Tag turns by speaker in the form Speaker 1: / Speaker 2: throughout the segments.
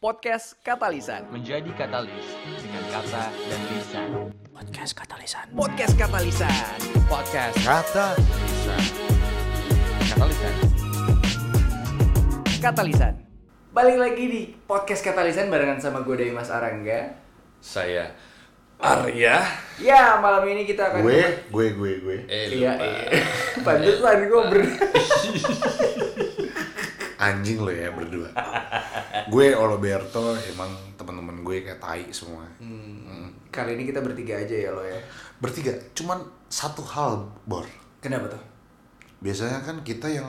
Speaker 1: Podcast Katalisan.
Speaker 2: menjadi katalis dengan kata dan lisan.
Speaker 1: Podcast Katalisan. Podcast Katalisan.
Speaker 2: Podcast kata lisan. Katalisan.
Speaker 1: Katalisan. Balik lagi di Podcast Katalisan barengan sama gue Dari Mas Arangga.
Speaker 2: Saya Arya.
Speaker 1: Ya, malam ini kita akan
Speaker 3: gue gue gue gue
Speaker 2: Eh,
Speaker 1: Iya,
Speaker 2: lupa.
Speaker 1: iya. Pantesan gue ber
Speaker 3: anjing lo ya berdua gue Oloberto emang teman-teman gue kayak tai semua
Speaker 1: Hmm. Kali ini kita bertiga aja ya lo ya.
Speaker 3: bertiga cuman satu hal bor
Speaker 1: Kenapa tuh?
Speaker 3: biasanya kan kita yang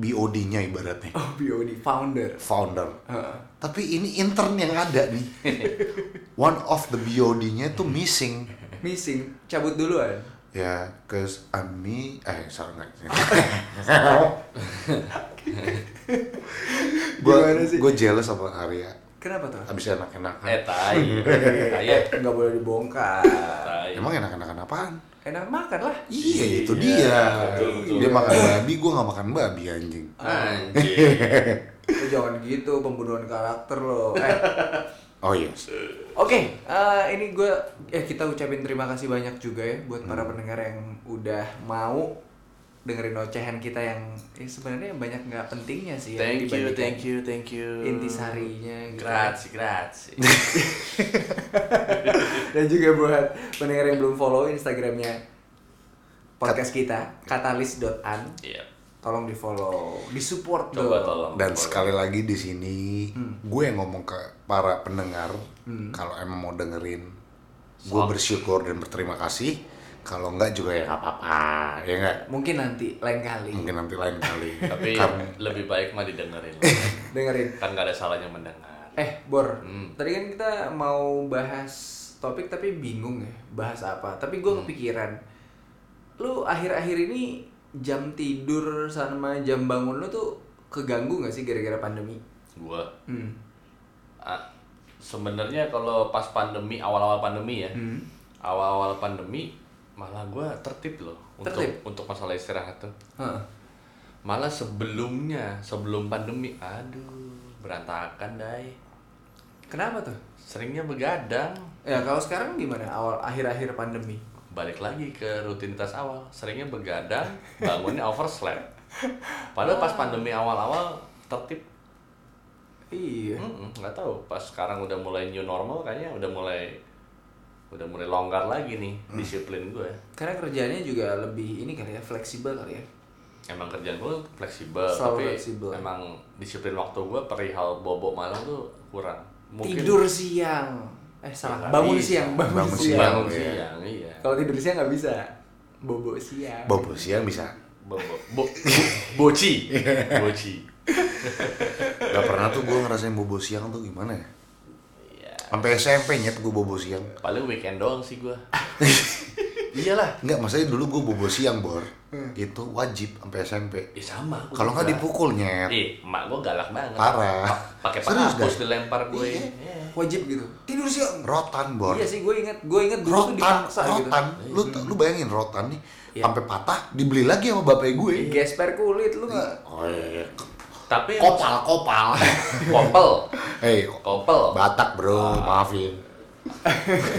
Speaker 3: BOD-nya ibaratnya
Speaker 1: Oh, BOD founder.
Speaker 3: founder
Speaker 1: Heeh.
Speaker 3: tapi ini intern yang ada nih one of the BOD-nya tuh missing
Speaker 1: Missing, cabut duluan.
Speaker 3: ya cause I'm me eh sorry nggak
Speaker 1: Gimana sih?
Speaker 3: gue gue jealous sama Arya
Speaker 1: Kenapa tuh? Eh,
Speaker 3: abis enak-enakan
Speaker 2: Eh, tai. Tai, ya.
Speaker 1: Nggak boleh dibongkar.
Speaker 2: Tai.
Speaker 3: Emang enak-enakan apaan?
Speaker 1: Enak makan lah.
Speaker 3: Iya, itu
Speaker 2: Iya,
Speaker 3: dia.
Speaker 2: betul, betul.
Speaker 3: Dia makan babi, gue gak makan babi anjing.
Speaker 2: Anjing.
Speaker 1: Lo jangan gitu, pembunuhan karakter lo. Eh,
Speaker 3: Oh yes.
Speaker 1: Oke, eh, ini gue ya kita ucapin terima kasih banyak juga ya buat para
Speaker 2: Hmm.
Speaker 1: pendengar yang udah mau dengerin ocehan kita yang eh, sebenarnya banyak nggak pentingnya sih. ya,
Speaker 2: Thank you,
Speaker 1: dibandingkan
Speaker 2: thank you, thank you.
Speaker 1: Intisarinya gitu.
Speaker 2: Grazie, grazie.
Speaker 1: Dan juga buat pendengar yang belum follow Instagramnya podcast kita katalis.an
Speaker 2: Iya.
Speaker 1: tolong di follow, di support
Speaker 2: Coba tolong.
Speaker 3: Dan sekali lagi di sini, gue yang ngomong ke para pendengar, kalau emang mau dengerin, gue bersyukur dan berterima kasih. Kalau enggak juga ya nggak apa-apa, ya enggak.
Speaker 1: Mungkin nanti lain kali
Speaker 3: Mungkin nanti lain kali.
Speaker 2: Tapi
Speaker 3: Karena-
Speaker 2: lebih baik mah didengerin.
Speaker 1: dengerin.
Speaker 2: kan gak ada salahnya mendengar.
Speaker 1: Eh, Bor, tadi kan kita mau bahas topik tapi bingung ya bahas apa. Tapi gue kepikiran, lu akhir-akhir ini jam tidur sama jam bangun lu tuh keganggu gak sih gara-gara pandemi?
Speaker 2: Gua
Speaker 1: Hmm.
Speaker 2: Ah, sebenarnya kalau pas pandemi awal-awal pandemi ya
Speaker 1: Hmm.
Speaker 2: awal-awal pandemi malah gue tertib loh untuk
Speaker 1: Tertib?
Speaker 2: untuk masalah istirahat tuh
Speaker 1: Heeh.
Speaker 2: malah sebelumnya sebelum pandemi aduh berantakan dai
Speaker 1: Kenapa tuh?
Speaker 2: seringnya begadang
Speaker 1: Ya kalau sekarang gimana awal akhir-akhir pandemi?
Speaker 2: balik lagi ke rutinitas awal seringnya begadang bangunnya oversleep padahal pas pandemi awal-awal tertib
Speaker 1: Iya.
Speaker 2: Mm-mm, nggak tahu pas sekarang udah mulai new normal kayaknya udah mulai udah mulai longgar lagi nih
Speaker 1: Hmm.
Speaker 2: disiplin gue
Speaker 1: Karena kerjaannya juga lebih ini kali ya, fleksibel kali ya.
Speaker 2: emang kerjaan gue fleksibel
Speaker 1: Selalu
Speaker 2: tapi
Speaker 1: fleksibel.
Speaker 2: emang disiplin waktu gue perihal bobo malam tuh kurang
Speaker 1: Tidur siang. Eh salah,
Speaker 2: nggak
Speaker 1: bangun
Speaker 2: bisa.
Speaker 1: siang, bangun,
Speaker 3: Bangun
Speaker 1: siang.
Speaker 3: siang.
Speaker 2: Ya, bangun
Speaker 3: Iya.
Speaker 2: siang iya
Speaker 1: Kalau tidur siang nggak bisa. Bobo siang.
Speaker 3: Bobo siang bisa.
Speaker 2: bobo bo, bo- boci boci
Speaker 3: Gak pernah tuh gue ngerasain bobo siang tuh gimana ya.
Speaker 2: Iya.
Speaker 3: Sampai SMP nyet gue bobo siang.
Speaker 2: paling weekend doang sih gue iyalah
Speaker 3: Enggak, maksudnya dulu gue bobo siang, Bor.
Speaker 1: Hmm.
Speaker 3: Itu wajib sampai SMP.
Speaker 1: Iya.
Speaker 2: eh, sama gua
Speaker 3: Kalau nggak
Speaker 2: juga.
Speaker 3: dipukul nyet.
Speaker 2: Ih, emak gue galak banget
Speaker 3: Parah.
Speaker 2: Pa- pakai
Speaker 3: Serius,
Speaker 2: penghapus
Speaker 3: guys?
Speaker 2: dilempar gue
Speaker 3: Iya.
Speaker 2: Iya.
Speaker 1: wajib gitu tidur siang
Speaker 3: rotan bor
Speaker 1: iya sih gue inget gue inget dulu tuh
Speaker 3: rotan
Speaker 1: dipaksa gitu Iya.
Speaker 3: rotan lu lu bayangin rotan nih sampai patah dibeli lagi sama bapak gue
Speaker 1: gesper kulit lu nggak
Speaker 3: oh iya.
Speaker 2: tapi
Speaker 3: kopal kopal
Speaker 2: kopel
Speaker 3: hey
Speaker 2: kopel
Speaker 3: batak bro
Speaker 1: Ah.
Speaker 3: maafin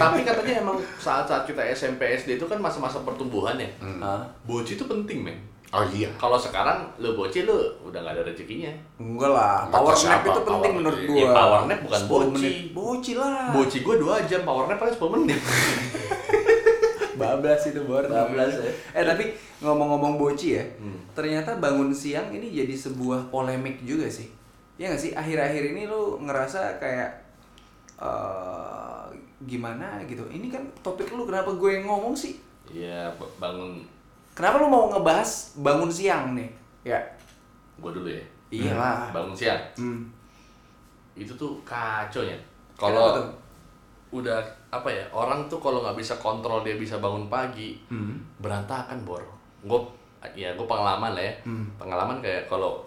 Speaker 2: tapi katanya emang saat-saat kita SMP SD itu kan masa-masa pertumbuhan ya
Speaker 3: Hmm.
Speaker 1: Hah?
Speaker 2: boci itu penting men
Speaker 3: oh iya
Speaker 2: kalau sekarang lu bocil lu udah nggak ada rezekinya
Speaker 1: enggak lah
Speaker 3: Nggak
Speaker 1: power nap
Speaker 3: tahu siapa,
Speaker 1: itu penting
Speaker 3: power
Speaker 1: menurut
Speaker 3: nap.
Speaker 1: gue
Speaker 2: Ya, power nap bukan boci.
Speaker 1: bocil lah
Speaker 2: boci gua dua jam power nap paling 10 menit
Speaker 1: bablas itu bor
Speaker 2: Bablas ya. Hmm.
Speaker 1: eh tapi ngomong-ngomong boci ya ternyata bangun siang ini jadi sebuah polemik juga sih ya nggak sih akhir-akhir ini lu ngerasa kayak eh, gimana gitu ini kan topik lu kenapa gue yang ngomong sih
Speaker 2: iya b- bangun
Speaker 1: Kenapa lu mau ngebahas bangun siang nih? Ya.
Speaker 2: gua dulu ya
Speaker 1: Iyalah.
Speaker 2: bangun siang
Speaker 1: Hmm.
Speaker 2: itu tuh kacau ya
Speaker 1: Kenapa
Speaker 2: kalau
Speaker 1: tuh?
Speaker 2: udah apa ya orang tuh kalau nggak bisa kontrol dia bisa bangun pagi
Speaker 1: Hmm.
Speaker 2: berantakan bor gue ya gue pengalaman lah ya
Speaker 1: Hmm.
Speaker 2: pengalaman kayak kalau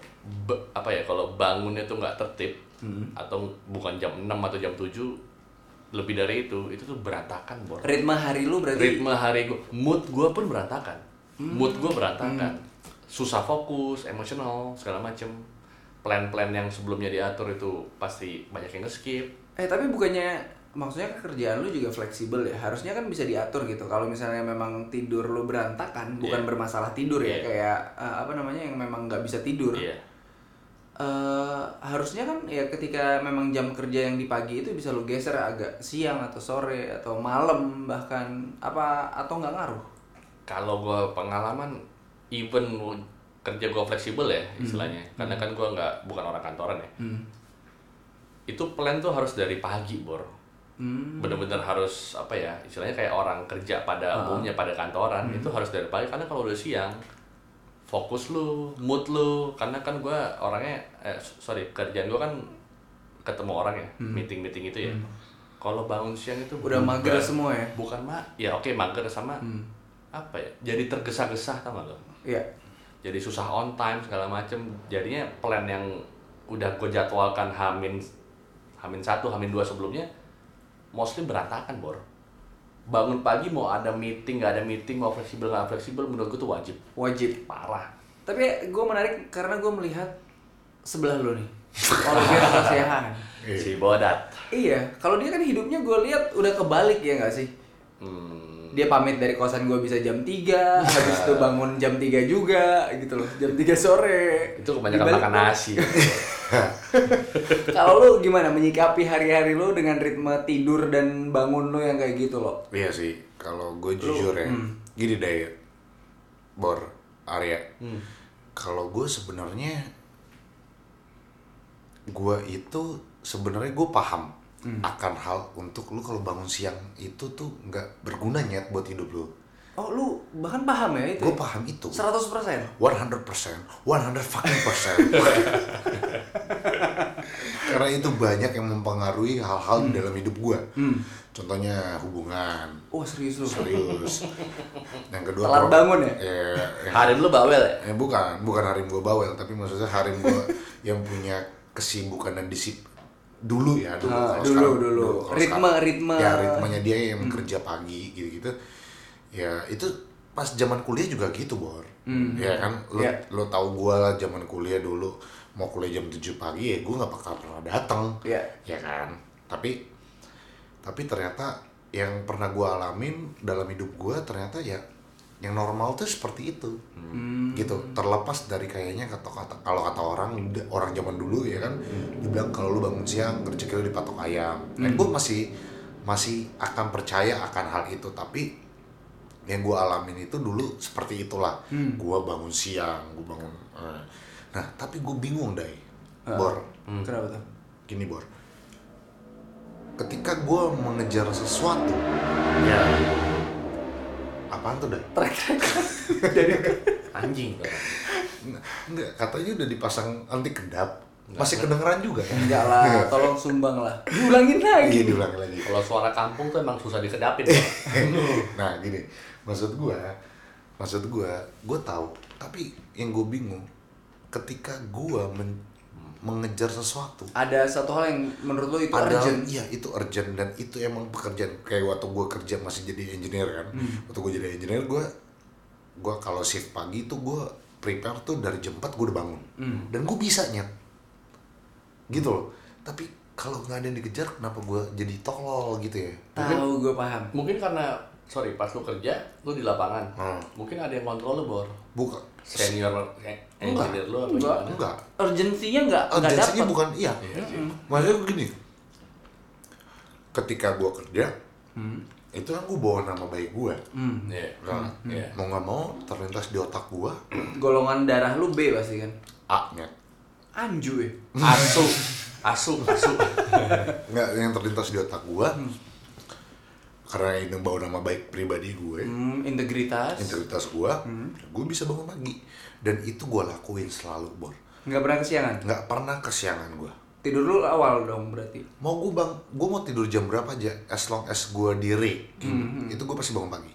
Speaker 2: be- apa ya kalau bangunnya tuh nggak tertib
Speaker 1: Hmm.
Speaker 2: atau bukan jam 6 atau jam 7 lebih dari itu itu tuh berantakan bor
Speaker 1: Ritme hari lu berarti
Speaker 2: ritme hari gue mood gue pun berantakan mood gue berantakan susah fokus emosional segala macem plan-plan yang sebelumnya diatur itu pasti banyak yang nge-skip.
Speaker 1: Eh tapi bukannya maksudnya kerjaan lu juga fleksibel ya? Harusnya kan bisa diatur gitu. Kalau misalnya memang tidur lu berantakan, bukan
Speaker 2: Iya.
Speaker 1: bermasalah tidur ya,
Speaker 2: Iya.
Speaker 1: kayak eh, apa namanya yang memang nggak bisa tidur.
Speaker 2: Iya.
Speaker 1: Eh, harusnya kan ya ketika memang jam kerja yang di pagi itu bisa lu geser agak siang atau sore atau malam bahkan apa atau nggak ngaruh?
Speaker 2: Kalau gue pengalaman even kerja gue fleksibel ya istilahnya. Karena kan gue nggak bukan orang kantoran ya. Itu plan tuh harus dari pagi, Bor.
Speaker 1: Hmm. Ah.
Speaker 2: Bener-bener harus apa ya? Istilahnya kayak orang kerja pada umumnya pada kantoran
Speaker 1: Hmm.
Speaker 2: itu harus dari pagi karena kalau udah siang fokus lu, mood lu karena kan gue orangnya eh sorry, kerjaan gue kan ketemu orang ya, meeting-meeting itu ya. Kalau bangun siang itu
Speaker 1: Hmm. Udah mager
Speaker 2: berubah.
Speaker 1: semua ya? Hmm.
Speaker 2: bukan mah ya oke mager sama apa ya jadi tergesa-gesa tau gak lo
Speaker 1: Iya.
Speaker 2: jadi susah on time segala macem jadinya plan yang udah gue jadwalkan hamin hamin satu hamin dua sebelumnya mostly berantakan bor bangun pagi mau ada meeting nggak ada meeting mau fleksibel nggak fleksibel menurut gue tuh wajib
Speaker 1: Wajib.
Speaker 2: parah
Speaker 1: Tapi gue menarik karena gue melihat sebelah lo nih. Olivier Sehan.
Speaker 2: si bodat
Speaker 1: Iya, kalau dia kan hidupnya gue lihat udah kebalik ya nggak sih?
Speaker 2: hmm,
Speaker 1: Dia pamit dari kosan gue bisa jam 3, habis itu bangun jam 3 juga gitu loh, jam 3 sore.
Speaker 2: itu kebanyakan
Speaker 1: Dibalik
Speaker 2: makan
Speaker 1: tuh.
Speaker 2: nasi
Speaker 1: Kalau lu gimana menyikapi hari-hari lu dengan ritme tidur dan bangun lu yang kayak gitu loh?
Speaker 3: Iya sih, kalau gue jujur ya, gini deh, Bor, Arya. Kalau gue sebenarnya, gue itu sebenarnya gue paham akan hal untuk lu kalau bangun siang itu tuh nggak berguna nyet buat hidup lu.
Speaker 1: Oh, lu bahkan paham ya itu?
Speaker 3: Gue paham itu.
Speaker 1: 100%.
Speaker 3: 100 persen, 100 fucking persen. Karena itu banyak yang mempengaruhi hal-hal di dalam hidup gue. Contohnya hubungan,
Speaker 1: Oh, serius lu.
Speaker 3: serius yang kedua
Speaker 1: Telat
Speaker 3: pro-
Speaker 1: bangun ya?
Speaker 3: ya, ya.
Speaker 2: hari lu bawel ya
Speaker 3: Eh, bukan bukan harim gue bawel tapi maksudnya harim gue yang punya kesibukan dan disip dulu ya dulu
Speaker 1: Ah,
Speaker 3: kalau
Speaker 1: dulu,
Speaker 3: sekarang-
Speaker 1: dulu.
Speaker 3: kalau
Speaker 1: Ritme,
Speaker 3: sekarang-
Speaker 1: ritme. Hmm.
Speaker 3: ya ritmenya dia yang kerja pagi gitu gitu ya itu pas zaman kuliah juga gitu bor ya kan lo
Speaker 1: Ya.
Speaker 3: lo tau gue lah zaman kuliah dulu mau kuliah jam 7 pagi ya gue nggak bakal pernah datang
Speaker 1: Ya.
Speaker 3: ya kan tapi tapi ternyata yang pernah gue alamin dalam hidup gue ternyata ya yang normal tuh seperti itu gitu terlepas dari kayaknya kata kata kalau kata orang orang zaman dulu ya kan dibilang kalau lu bangun siang rezeki lu dipatok ayam dan gue masih masih akan percaya akan hal itu tapi yang gue alamin itu dulu seperti itulah gue bangun siang gue bangun eh. nah tapi gue bingung dai bor
Speaker 1: Kenapa tuh?
Speaker 3: gini Bor ketika gue mengejar sesuatu
Speaker 2: ya
Speaker 3: apaan tuh Dai?
Speaker 2: anjing
Speaker 3: enggak katanya udah dipasang anti kedap masih kedengeran juga ya
Speaker 1: Enggak lah, tolong sumbang lah. Diulangin lagi.
Speaker 3: iya diulangi lagi
Speaker 2: kalau suara kampung tuh emang susah dikedapin Bor.
Speaker 3: nah gini maksud gue maksud gue gue tahu tapi yang gue bingung ketika gue mengejar sesuatu
Speaker 1: Ada satu hal yang menurut lo itu
Speaker 3: Padahal,
Speaker 1: urgent.
Speaker 3: Iya itu urgent dan itu emang pekerjaan kayak waktu gue kerja masih jadi engineer kan.
Speaker 1: Hmm.
Speaker 3: Waktu gue jadi engineer gue gue kalau shift pagi tuh gue prepare tuh dari jam 4 gue udah bangun
Speaker 1: Hmm.
Speaker 3: dan gue bisa nyet gitu loh. Tapi kalau nggak ada yang dikejar kenapa gue jadi tolol gitu ya?
Speaker 1: Tahu gue paham.
Speaker 2: mungkin karena sorry pas lu kerja lu di lapangan
Speaker 3: Hmm.
Speaker 2: mungkin ada yang kontrol lu bor
Speaker 3: Buka
Speaker 2: senior eh, engineer lu apa
Speaker 1: Enggak.
Speaker 2: gimana
Speaker 3: enggak.
Speaker 1: Urgensinya nggak nggak Hmm.
Speaker 3: Urgensinya
Speaker 1: dapat.
Speaker 3: bukan iya. Maksudnya gini. Ketika gue kerja
Speaker 1: Hmm.
Speaker 3: itu kan gue bawa nama baik gue.
Speaker 2: Iya.
Speaker 3: Kan?
Speaker 2: Iya.
Speaker 3: Mau nggak mau terlintas di otak gue
Speaker 1: Golongan darah lu B pasti kan.
Speaker 3: A nyet.
Speaker 1: Anju ya.
Speaker 2: asu asu asu
Speaker 3: nggak yang terlintas di otak gua karena ini bawa nama baik pribadi gue
Speaker 1: Hmm, integritas.
Speaker 3: integritas gua
Speaker 2: Hmm.
Speaker 3: gue bisa bangun pagi dan itu gua lakuin selalu bor
Speaker 1: Nggak pernah kesiangan.
Speaker 3: nggak pernah kesiangan gua
Speaker 1: Tidur lu awal dong berarti.
Speaker 3: mau gue bang gue mau tidur jam berapa aja as long as gua diri
Speaker 2: Hmm,
Speaker 3: itu gue pasti bangun pagi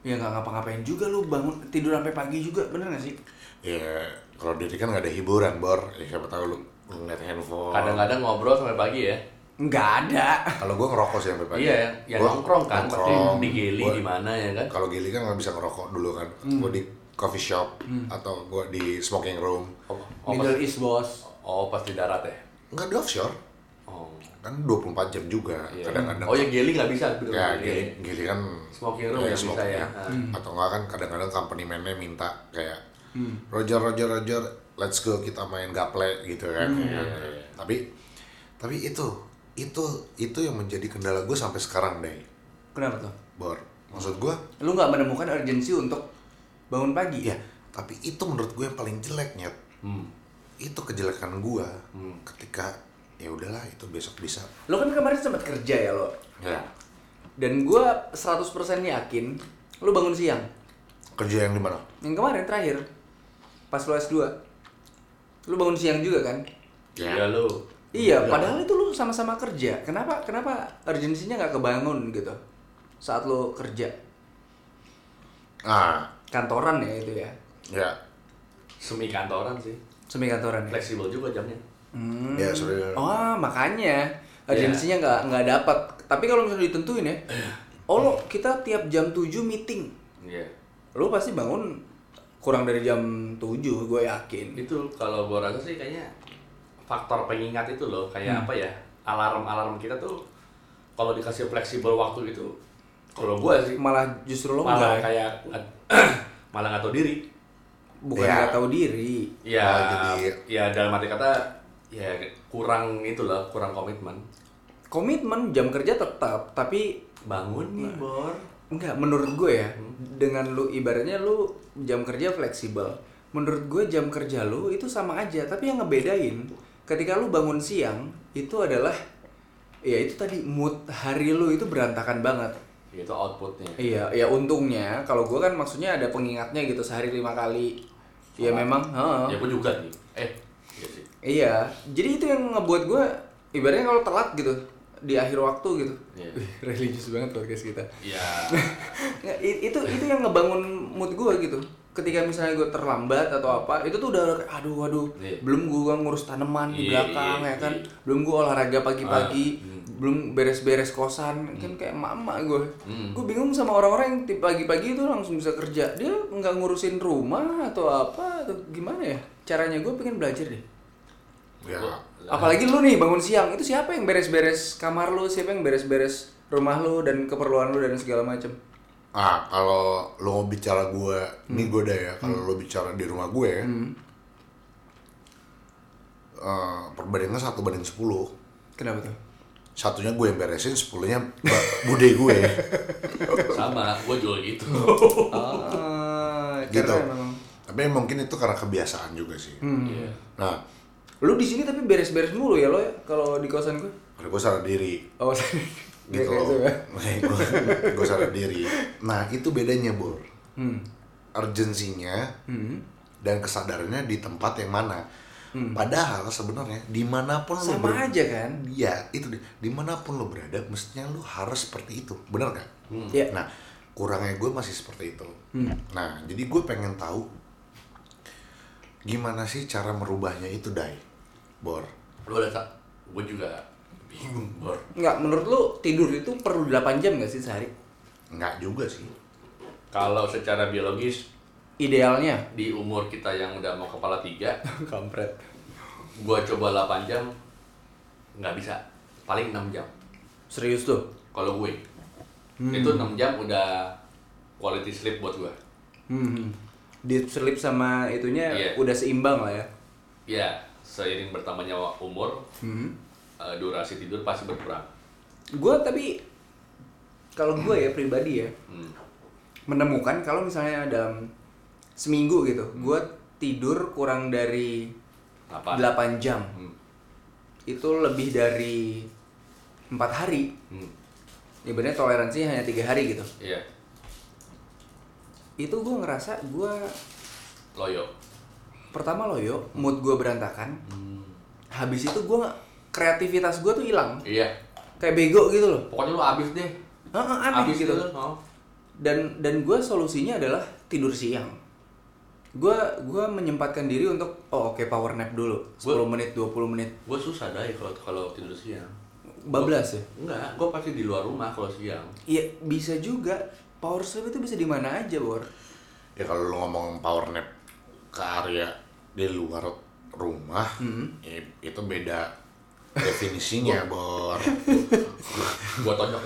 Speaker 1: Ya nggak ngapa-ngapain juga lu bangun tidur sampai pagi juga bener nggak sih?
Speaker 3: ya kalau diri kan nggak ada hiburan bor ya siapa tahu lu ngeliat handphone
Speaker 2: kadang-kadang ngobrol sampai pagi ya
Speaker 1: Nggak ada.
Speaker 3: kalau gue ngerokok sih sampai pagi
Speaker 2: iya yang yang
Speaker 3: Gua
Speaker 2: nongkrong kan pasti
Speaker 3: nongkrong.
Speaker 2: di geli
Speaker 3: Gua-
Speaker 2: di mana ya kan Hmm.
Speaker 3: kalau Gili kan nggak bisa ngerokok dulu kan gue di coffee shop atau gua di smoking room
Speaker 2: Oh, oh, pas,
Speaker 1: Middle East bos.
Speaker 2: oh, pas di darat ya?
Speaker 3: nggak di offshore
Speaker 2: Oh,
Speaker 3: kan 24 jam juga
Speaker 2: iya.
Speaker 3: kadang-kadang
Speaker 2: Oh ya Geli nggak bisa gitu.
Speaker 3: ya
Speaker 2: Geli.
Speaker 3: gini, gini kan
Speaker 2: Smoking room nggak bisa
Speaker 3: smoking
Speaker 2: ya.
Speaker 3: atau enggak kan kadang-kadang company man-nya minta kayak
Speaker 2: Hmm.
Speaker 3: Roger Roger Roger let's go kita main gaple gitu kan
Speaker 2: Hmm, iya,
Speaker 3: Ya, ya, ya. tapi tapi itu itu itu yang menjadi kendala gue sampai sekarang deh
Speaker 1: Kenapa tuh?
Speaker 3: bor maksud gue
Speaker 1: Lu nggak menemukan urgensi untuk bangun pagi?
Speaker 3: ya tapi itu menurut gue yang paling jeleknya
Speaker 2: Hmm.
Speaker 3: itu kejelekan gue
Speaker 1: Hmm.
Speaker 3: ketika ya udahlah itu besok bisa
Speaker 1: Lo kan kemarin sempat kerja ya lo.
Speaker 3: ya
Speaker 1: Dan gua 100% yakin lu bangun siang.
Speaker 3: kerja yang di mana
Speaker 1: Yang kemarin terakhir pas lo S2. Lu bangun siang juga kan?
Speaker 2: Ya lu.
Speaker 1: Iya, padahal itu lu sama-sama kerja. Kenapa kenapa urgensinya nggak kebangun gitu? Saat lo kerja
Speaker 3: ah
Speaker 1: kantoran ya itu ya.
Speaker 3: ya
Speaker 2: Semi kantoran sih.
Speaker 1: Semi kantoran ya.
Speaker 2: Fleksibel juga jamnya.
Speaker 1: Hmm.
Speaker 3: ya sebenarnya
Speaker 1: Oh, makanya urgensinya nggak nggak dapat. Tapi kalau misalnya ditentuin ya, oh lo kita tiap jam 7 meeting,
Speaker 2: Iya.
Speaker 1: lo pasti bangun kurang dari jam 7 gue yakin.
Speaker 2: Itu kalau gua rasa sih kayaknya faktor pengingat itu loh kayak apa ya? Alarm-alarm kita tuh kalau dikasih fleksibel waktu gitu kalau gua sih
Speaker 1: Malah justru lo nggak
Speaker 2: malah kayak nggak- malah nggak tahu diri.
Speaker 1: bukan
Speaker 3: Ya.
Speaker 1: nggak tahu diri.
Speaker 2: Ya,
Speaker 3: Oh, jadi-
Speaker 2: ya dalam arti kata ya kurang itulah kurang komitmen.
Speaker 1: Komitmen jam kerja tetap, tapi
Speaker 2: Bangun nih, Bor.
Speaker 1: Enggak, menurut gue ya, dengan lu ibaratnya lu jam kerja fleksibel. Menurut gue jam kerja lu itu sama aja, tapi yang ngebedain ketika lu bangun siang itu adalah ya itu tadi mood hari lu itu berantakan banget.
Speaker 2: Itu outputnya.
Speaker 1: Iya, ya untungnya kalau gue kan maksudnya ada pengingatnya gitu sehari lima kali. Ya memang, heeh.
Speaker 2: Ya gua juga nih. Eh, iya sih.
Speaker 1: Iya, jadi itu yang ngebuat gue ibaratnya kalau telat gitu di akhir waktu gitu.
Speaker 2: Iya.
Speaker 1: Wih, Religius banget podcast kita.
Speaker 2: Ya.
Speaker 1: Nggak, i- itu itu yang ngebangun mood gue gitu ketika misalnya gue terlambat atau apa itu tuh udah aduh aduh
Speaker 2: Iya.
Speaker 1: belum gue ngurus tanaman di
Speaker 2: Iya,
Speaker 1: belakang
Speaker 2: iya, Ah, hmm.
Speaker 1: ya kan
Speaker 2: iya.
Speaker 1: belum gue olahraga pagi-pagi belum beres-beres
Speaker 2: Hmm.
Speaker 1: kosan kan kayak mama gue gue bingung sama orang-orang yang tip- pagi-pagi itu langsung bisa kerja dia nggak ngurusin rumah atau apa atau gimana ya caranya gue pengen belajar deh
Speaker 3: ya
Speaker 1: apalagi lu nih bangun siang itu siapa yang beres-beres kamar lu siapa yang beres-beres rumah lu dan keperluan lu dan segala macem
Speaker 3: Ah, kalau lo mau bicara gue, ini
Speaker 1: Hmm.
Speaker 3: gue deh ya. Kalau lo bicara di rumah gue, eh, perbandingan satu banding sepuluh.
Speaker 1: kenapa tuh
Speaker 3: Satunya gue yang beresin, sepuluhnya ba- bude gue.
Speaker 2: sama gue juga gitu
Speaker 1: Ah,
Speaker 3: gitu.
Speaker 1: karena memang.
Speaker 3: Tapi mungkin itu karena kebiasaan juga sih.
Speaker 1: Hmm.
Speaker 2: Iya.
Speaker 3: Nah,
Speaker 1: Lu di sini tapi beres-beres mulu ya lo ya kalau di kosan gue.
Speaker 3: kalau gue sadar diri,
Speaker 1: Oh,
Speaker 3: gitu
Speaker 1: kayak
Speaker 3: loh.
Speaker 1: gitu ya.
Speaker 3: gue, gue sadar diri. Nah, itu bedanya bor.
Speaker 1: Hmm.
Speaker 3: urgensinya dan kesadarannya di tempat yang mana. Padahal sebenarnya dimanapun lo
Speaker 1: Hmm. Sama
Speaker 3: ber-
Speaker 1: aja kan?
Speaker 3: Iya, itu dia. dimanapun lo berada, mestinya lo harus seperti itu, bener gak?
Speaker 1: Iya.
Speaker 3: Nah, kurangnya gue masih seperti itu.
Speaker 1: Hmm.
Speaker 3: Nah, jadi gue pengen tahu gimana sih cara merubahnya itu, Dai, Bor.
Speaker 2: lu ada tak gue juga bingung bor
Speaker 1: Enggak, menurut lu tidur itu perlu 8 jam gak sih sehari?
Speaker 3: Nggak juga sih.
Speaker 2: kalau secara biologis
Speaker 1: Idealnya
Speaker 2: di umur kita yang udah mau kepala tiga
Speaker 1: kampret.
Speaker 2: gue coba 8 jam nggak bisa paling 6 jam
Speaker 1: Serius tuh.
Speaker 2: kalau gue itu 6 jam udah quality sleep buat gue
Speaker 1: Hmm. Deep sleep sama itunya
Speaker 2: Iya.
Speaker 1: udah seimbang lah ya.
Speaker 2: ya seiring bertambahnya umur
Speaker 3: Hmm.
Speaker 2: eh, durasi tidur pasti berkurang
Speaker 1: Gue tapi kalau gue ya pribadi ya
Speaker 2: Hmm.
Speaker 1: menemukan kalau misalnya dalam seminggu gitu, gue tidur kurang dari
Speaker 2: Delapan.
Speaker 1: 8 jam.
Speaker 2: Hmm.
Speaker 1: itu lebih dari empat hari
Speaker 2: Hmm.
Speaker 1: ibaratnya toleransi hanya tiga hari gitu
Speaker 2: iya
Speaker 1: itu gue ngerasa gue
Speaker 2: loyo
Speaker 1: pertama loyo mood gue berantakan
Speaker 2: Hmm,
Speaker 1: habis itu gue kreativitas gue tuh hilang
Speaker 2: iya
Speaker 1: kayak bego gitu loh
Speaker 2: pokoknya lu abis deh
Speaker 1: Heeh, aneh
Speaker 2: abis
Speaker 1: gitu
Speaker 2: gitu oh.
Speaker 1: dan dan gue solusinya adalah tidur siang gue gua menyempatkan diri untuk oh oke power nap dulu 10 menit 20 menit
Speaker 2: gue susah deh kalau kalau tidur siang
Speaker 1: bablas ya
Speaker 2: enggak gue pasti di luar rumah kalau siang
Speaker 1: iya bisa juga power sleep itu bisa di mana aja bor
Speaker 3: ya kalau lu ngomong power nap ke area di luar rumah i- itu beda definisinya bor
Speaker 2: Gua tonjok.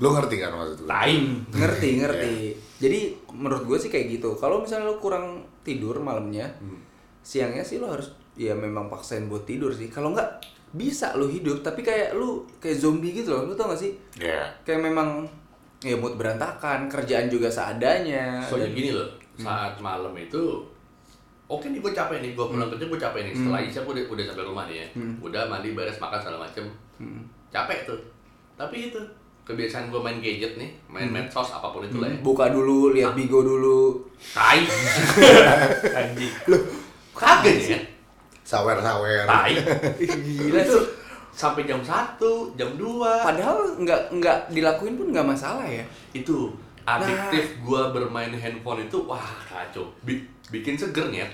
Speaker 3: lu ngerti kan maksud gue
Speaker 2: Lain.
Speaker 1: ngerti ngerti jadi menurut gue sih kayak gitu kalau misalnya lo kurang tidur malamnya siangnya sih lo harus ya memang paksain buat tidur sih kalau nggak bisa lo hidup tapi kayak lu kayak zombie gitu loh lu tau gak sih
Speaker 3: ya
Speaker 1: kayak memang ya mood berantakan kerjaan juga seadanya dan-
Speaker 2: Soalnya gini loh, saat malam itu Oke nih gue capek nih, gue
Speaker 1: Hmm.
Speaker 2: pulang kerja gue capek nih Setelah Isya gue udah, udah sampai rumah nih ya Udah mandi, beres, makan, segala macem
Speaker 1: Hmm.
Speaker 2: Capek tuh Tapi itu, kebiasaan gue main gadget nih Main
Speaker 1: Hmm.
Speaker 2: medsos, apapun itu lah ya
Speaker 1: buka dulu lihat bigo dulu
Speaker 2: Tai Anjing Kagak ya,
Speaker 3: sawer sawer
Speaker 2: tai
Speaker 1: gila
Speaker 2: Itu
Speaker 1: sih
Speaker 2: sampai jam 1, jam 2
Speaker 1: padahal nggak nggak dilakuin pun nggak masalah ya
Speaker 2: Itu, adiktif
Speaker 1: Nah.
Speaker 2: gue bermain handphone itu Wah kacau, Bi- bikin seger nih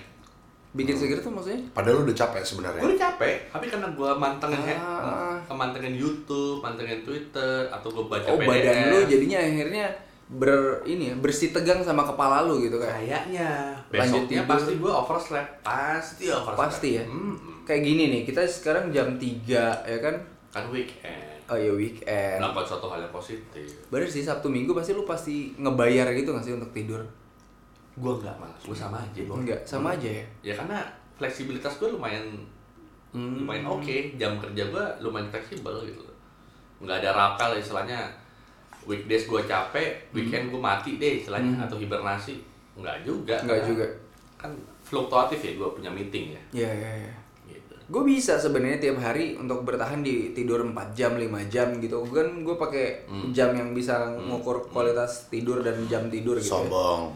Speaker 1: bikin
Speaker 2: Hmm.
Speaker 1: seger tuh maksudnya
Speaker 3: padahal lu udah capek
Speaker 2: gue
Speaker 3: sebenarnya
Speaker 2: udah capek tapi karena gue mantengin
Speaker 1: Ah.
Speaker 2: he- mantengin YouTube mantengin Twitter atau gue baca
Speaker 1: oh
Speaker 2: PDF
Speaker 1: badan lu jadinya akhirnya ber ini ya bersih tegang sama kepala lu gitu
Speaker 2: Nah.
Speaker 1: kan
Speaker 2: kayaknya
Speaker 1: Lanjut
Speaker 2: besoknya
Speaker 1: tidur.
Speaker 2: pasti gue oversleep pasti oversleep
Speaker 1: Pasti ya?
Speaker 2: Hmm.
Speaker 1: kayak gini nih kita sekarang jam 3 ya kan
Speaker 2: kan weekend
Speaker 1: oh ya weekend
Speaker 2: melakukan suatu hal yang positif
Speaker 1: bener sih sabtu minggu pasti lu pasti ngebayar gitu nggak sih untuk tidur
Speaker 2: gue nggak malas gue sama aja gue
Speaker 1: enggak sama aja ya
Speaker 2: ya karena fleksibilitas gue lumayan
Speaker 1: Hmm.
Speaker 2: lumayan oke jam kerja gue lumayan fleksibel gitu loh nggak ada rapel istilahnya weekdays gue capek
Speaker 1: Hmm.
Speaker 2: weekend gue mati deh istilahnya atau hibernasi nggak juga
Speaker 1: Nggak
Speaker 2: Karena
Speaker 1: juga.
Speaker 2: kan fluktuatif ya gue punya meeting
Speaker 1: ya
Speaker 2: ya
Speaker 1: ya ya
Speaker 2: gitu
Speaker 1: gue bisa sebenarnya tiap hari untuk bertahan di tidur 4 jam 5 jam gitu kan gue pakai jam yang bisa ngukur kualitas tidur dan jam tidur gitu ya.
Speaker 3: sombong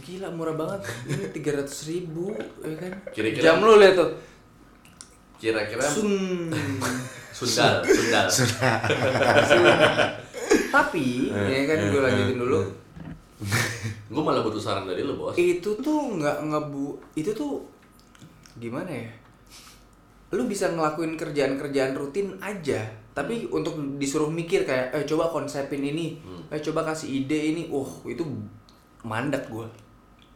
Speaker 1: Gila murah banget. Ini 300 ribu, ya kan?
Speaker 2: Kira-kira-
Speaker 1: Jam lu lihat tuh.
Speaker 2: kira-kira
Speaker 1: Sun.
Speaker 2: sundal sundal
Speaker 1: Tapi, ya kan gue lanjutin dulu.
Speaker 2: gue malah butuh saran dari lo bos
Speaker 1: Itu tuh nggak ngebu, itu tuh gimana ya? Lu bisa ngelakuin kerjaan-kerjaan rutin aja, tapi
Speaker 2: Hmm.
Speaker 1: untuk disuruh mikir kayak, eh coba konsepin ini, eh coba kasih ide ini, uh itu mandek gue,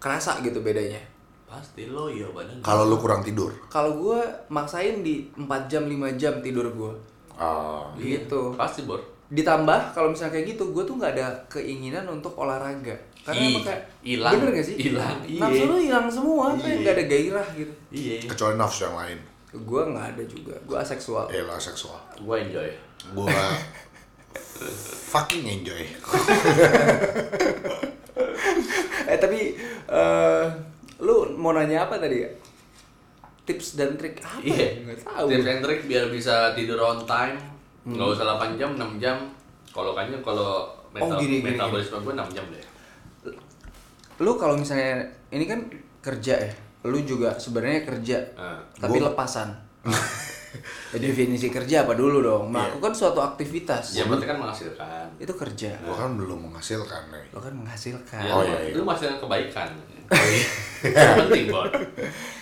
Speaker 1: kerasa gitu bedanya.
Speaker 2: pasti lo ya badan
Speaker 3: kalau lu kurang tidur
Speaker 1: Kalau gue maksain di 4 jam 5 jam tidur gue,
Speaker 3: ah
Speaker 1: gitu.
Speaker 2: Iya, pasti bor
Speaker 1: ditambah kalau misalnya kayak gitu gue tuh nggak ada keinginan untuk olahraga karena
Speaker 2: Ih,
Speaker 1: emang kayak
Speaker 2: hilang.
Speaker 1: bener gak sih
Speaker 2: Hilang, iya.
Speaker 1: nafsu lu hilang semua kayak nggak ada gairah gitu
Speaker 2: iya
Speaker 3: kecuali nafsu yang lain
Speaker 1: gue nggak ada juga gue aseksual
Speaker 3: eh lah seksual
Speaker 2: gue enjoy
Speaker 3: gua fucking enjoy
Speaker 1: eh tapi eh, lu mau nanya apa tadi ya tips dan trik apa
Speaker 2: Iya,
Speaker 1: ya? nggak tahu Hmm.
Speaker 2: Tips and trick biar bisa tidur on time. Nggak usah 8 jam, 6 jam. Kalau kayaknya kalau metal,
Speaker 1: Oh, gini, gini, Oh.
Speaker 2: metabolisme gue 6 jam deh.
Speaker 1: lu kalau misalnya ini kan kerja ya lu juga sebenarnya kerja
Speaker 2: Ah.
Speaker 1: tapi lepasan definisi kerja apa dulu dong
Speaker 2: Iya.
Speaker 1: melakukan suatu aktivitas
Speaker 2: Yang penting kan menghasilkan.
Speaker 1: itu kerja
Speaker 3: gua kan belum menghasilkan eh. nih
Speaker 1: lo kan menghasilkan
Speaker 2: Ya,
Speaker 3: Oh, iya, iya.
Speaker 2: Itu menghasilkan kebaikan.
Speaker 1: Oh, iya.
Speaker 2: Yang penting, Bor.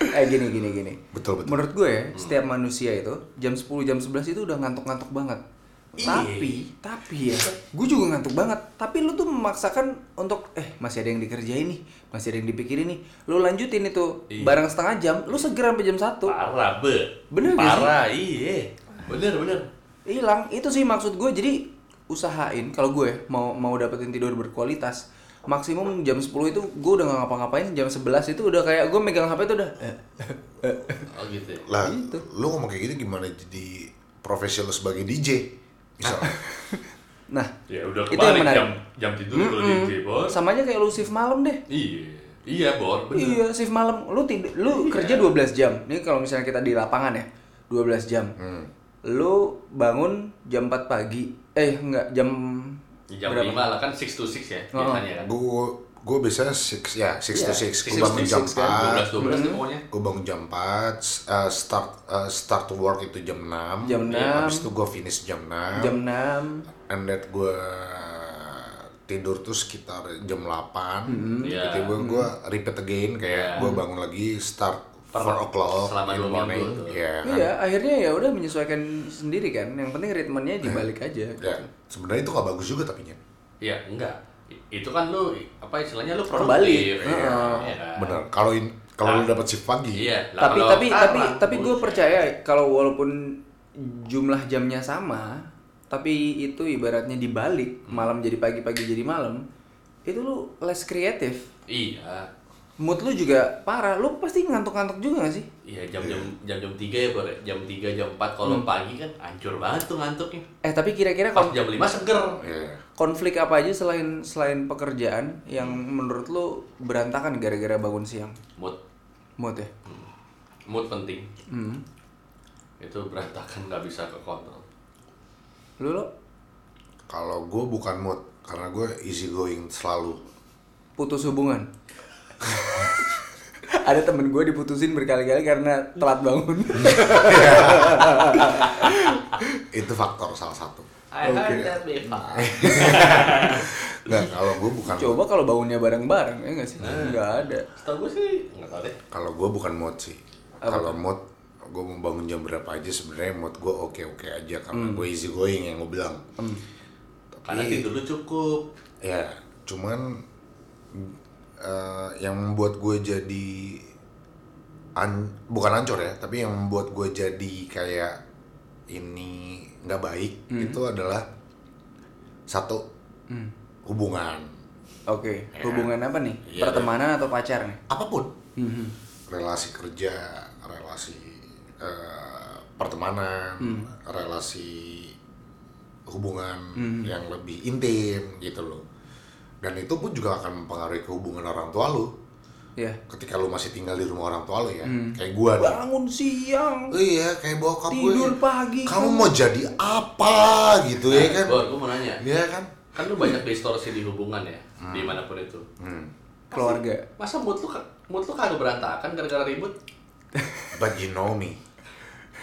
Speaker 1: eh gini gini gini
Speaker 3: Betul, Hmm. betul.
Speaker 1: menurut gue ya setiap manusia itu jam 10 jam 11 itu udah ngantuk-ngantuk banget
Speaker 3: Iya.
Speaker 1: tapi tapi ya gue juga ngantuk banget tapi lu tuh memaksakan untuk eh masih ada yang dikerjain nih masih ada yang dipikirin nih lu lanjutin itu
Speaker 3: Iya.
Speaker 1: barang setengah jam lu segera sampai jam 1
Speaker 2: Parah, be.
Speaker 1: Bener nggak sih?
Speaker 2: Parah, iya. Bener, bener.
Speaker 1: hilang itu sih maksud gue jadi usahain kalau gue mau mau dapetin tidur berkualitas maksimum jam 10 itu gue udah nggak ngapa-ngapain jam 11 itu udah kayak gue megang hp itu udah eh, eh, eh.
Speaker 2: Oh gitu ya.
Speaker 3: lah
Speaker 1: Gitu.
Speaker 3: lu ngomong kayak gitu gimana jadi profesi lu sebagai DJ misalnya
Speaker 1: nah
Speaker 2: Ya udah
Speaker 1: Itu yang
Speaker 2: kebalik
Speaker 1: menarik.
Speaker 2: jam, jam tidur lu di DJ, Bor.
Speaker 1: sama aja kayak lu shift malam deh
Speaker 2: Iya. Iya, Bor. Bener. Iya.
Speaker 1: Iya, shift malam. Lu tid- lu kerja 12 jam. Ini kalau misalnya kita di lapangan ya, 12 jam.
Speaker 2: Hmm.
Speaker 1: Lu bangun jam 4 pagi. Eh, enggak, jam
Speaker 2: Jam 5 lah kan 6 to 6 ya
Speaker 1: Oh.
Speaker 2: biasanya kan.
Speaker 3: gua gua biasanya six ya six to six
Speaker 2: Six
Speaker 3: gua
Speaker 2: to
Speaker 3: bangun jam
Speaker 2: six
Speaker 3: empat
Speaker 2: kan. 12 12 tuh pokoknya.
Speaker 3: gue bangun jam 4, uh, start uh, start to work itu jam 6
Speaker 1: Jam
Speaker 3: Ya,
Speaker 1: 6.
Speaker 3: Habis itu gue finish jam 6
Speaker 1: jam 6.
Speaker 3: And that gue tidur tuh sekitar jam 8
Speaker 2: Iya.
Speaker 3: Tiba-tiba gue repeat again Kayak gue bangun lagi start 4 o'clock
Speaker 2: Ya. selama
Speaker 3: in
Speaker 2: dua
Speaker 3: the
Speaker 2: minggu
Speaker 3: morning
Speaker 2: tuh.
Speaker 3: Iya kan?
Speaker 1: Iya, akhirnya ya udah menyesuaikan
Speaker 2: Eh.
Speaker 1: sendiri kan. Yang penting ritmenya dibalik aja.
Speaker 3: Ya, Sebenarnya itu gak bagus juga tapi Nyen.
Speaker 2: Iya, enggak. I- itu kan lu apa istilahnya lu produktif
Speaker 1: Kembali.
Speaker 2: ya,
Speaker 1: Heeh.
Speaker 2: ya kan?
Speaker 3: bener kalau in- kalau lu dapat shift pagi
Speaker 2: iya lah
Speaker 1: tapi
Speaker 2: kalau kan-
Speaker 1: tapi
Speaker 2: kalah,
Speaker 1: tapi tapi gue
Speaker 2: bullshit.
Speaker 1: percaya kalau walaupun jumlah jamnya sama tapi itu ibaratnya dibalik
Speaker 2: Hmm.
Speaker 1: malam jadi pagi pagi jadi malam itu lu less kreatif
Speaker 2: iya
Speaker 1: mood lu juga parah lu pasti ngantuk-ngantuk juga gak sih
Speaker 2: iya jam-jam jam-jam tiga ya Bor, ya? jam tiga jam empat kalau
Speaker 1: Hmm.
Speaker 2: pagi kan hancur banget tuh ngantuknya
Speaker 1: eh tapi kira-kira
Speaker 2: pas
Speaker 1: kon-
Speaker 2: jam lima seger
Speaker 3: Iya.
Speaker 1: konflik apa aja selain selain pekerjaan yang menurut lu berantakan gara-gara bangun siang
Speaker 2: mood
Speaker 1: mood ya
Speaker 2: mood penting
Speaker 1: hmm.
Speaker 2: itu berantakan nggak bisa ke kontrol
Speaker 1: lu lo
Speaker 3: kalau gue bukan mood karena gue easy going selalu
Speaker 1: putus hubungan ada temen gue diputusin berkali-kali karena telat bangun
Speaker 2: Hmm.
Speaker 3: itu faktor salah satu
Speaker 2: I heard that before.
Speaker 3: nggak kalau gue bukan
Speaker 1: coba kalau bangunnya bareng-bareng ya nggak sih
Speaker 2: Ah.
Speaker 1: nggak ada
Speaker 2: Setahu gue sih nggak tahu deh.
Speaker 3: kalau gue bukan mood sih kalau mood gue mau bangun jam berapa aja sebenarnya mood gue oke oke aja karena gue easy going yang gue bilang
Speaker 1: Iya.
Speaker 2: Karena tidur lu cukup.
Speaker 3: ya cuman eh, yang membuat gue jadi an- bukan hancur ya tapi yang membuat gue jadi kayak ini nggak baik itu adalah satu
Speaker 2: Hmm.
Speaker 3: hubungan
Speaker 1: oke
Speaker 2: Ya.
Speaker 1: hubungan apa nih
Speaker 3: Iya.
Speaker 1: pertemanan atau pacar nih
Speaker 3: apapun
Speaker 2: Hmm,
Speaker 1: Mhm.
Speaker 3: relasi kerja, relasi eh, pertemanan,
Speaker 1: Hmm.
Speaker 3: relasi hubungan
Speaker 1: Hmm.
Speaker 3: yang lebih intim gitu loh. Dan itu pun juga akan mempengaruhi hubungan orang tua lu.
Speaker 1: ya
Speaker 3: Ketika lu masih tinggal di rumah orang tua lu ya,
Speaker 1: Hmm.
Speaker 3: kayak gua nih.
Speaker 1: bangun siang
Speaker 3: Iya, kayak bokap gue.
Speaker 1: Tidur pagi, kan?
Speaker 3: Kamu
Speaker 1: kamu-
Speaker 3: mau jadi apa gitu ya kan?
Speaker 2: Bor, gue mau nanya.
Speaker 3: Iya kan?
Speaker 2: Kan lu banyak distorsi di hubungan ya,
Speaker 1: Hmm.
Speaker 2: dimanapun itu.
Speaker 3: Hmm.
Speaker 1: keluarga
Speaker 2: Masa mood lu ka- mood lu kagak berantakan gara-gara ribut?
Speaker 3: But you know me.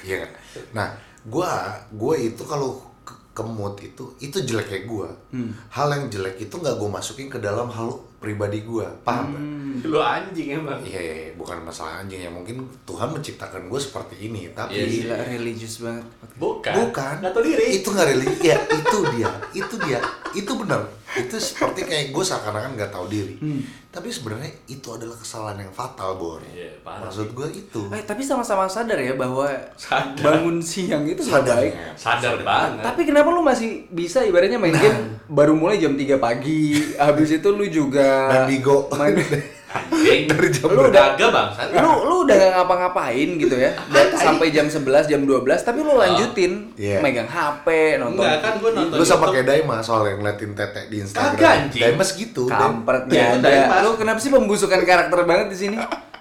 Speaker 3: Iya kan? Nah, gua gua itu kalau ke- ke mood itu itu jeleknya gua.
Speaker 2: Hmm.
Speaker 3: Hal yang jelek itu nggak gua masukin ke dalam hal pribadi gua. Paham nggak?
Speaker 2: Lu anjing emang.
Speaker 3: Iya, iya, iya. bukan masalah anjing ya. Mungkin Tuhan menciptakan gua seperti ini, tapi
Speaker 2: Iya sih.
Speaker 1: gila religious banget
Speaker 2: Bukan.
Speaker 3: bukan.
Speaker 2: Nggak tahu diri.
Speaker 3: Itu nggak religi. Ya, itu dia. Itu dia. Itu benar. Itu seperti kayak gua seakan-akan nggak tahu diri.
Speaker 2: Hmm.
Speaker 3: Tapi sebenarnya itu adalah kesalahan yang fatal, Bor.
Speaker 2: Iya, parah
Speaker 3: Maksud gua itu.
Speaker 1: eh tapi sama-sama sadar ya bahwa
Speaker 2: Sadar.
Speaker 1: bangun siang itu nggak baik
Speaker 3: ya.
Speaker 2: Sadar banget.
Speaker 1: Tapi kenapa lu masih bisa ibaratnya main
Speaker 2: Nah.
Speaker 1: game baru mulai jam 3 pagi, habis itu lu juga
Speaker 3: Dan Bigo.
Speaker 1: main
Speaker 2: Anjing.
Speaker 3: Dari jam
Speaker 2: lu udah agak bangsa.
Speaker 1: lu lu udah gak ngapa-ngapain gitu ya. Dan sampai jam 11, jam 12 tapi lu lanjutin
Speaker 3: Iya.
Speaker 1: megang HP, nonton.
Speaker 2: Enggak Oh, kan gue nonton.
Speaker 3: Lu sama
Speaker 2: YouTube.
Speaker 3: kayak Daima soal yang ngeliatin tetek di Instagram.
Speaker 2: Kagak, anjing.
Speaker 3: Daimas gitu. Daim-
Speaker 1: Kampret
Speaker 2: Iya,
Speaker 1: nggak
Speaker 2: itu
Speaker 1: ada.
Speaker 2: dari pas.
Speaker 1: Lu kenapa sih pembusukan karakter banget di sini?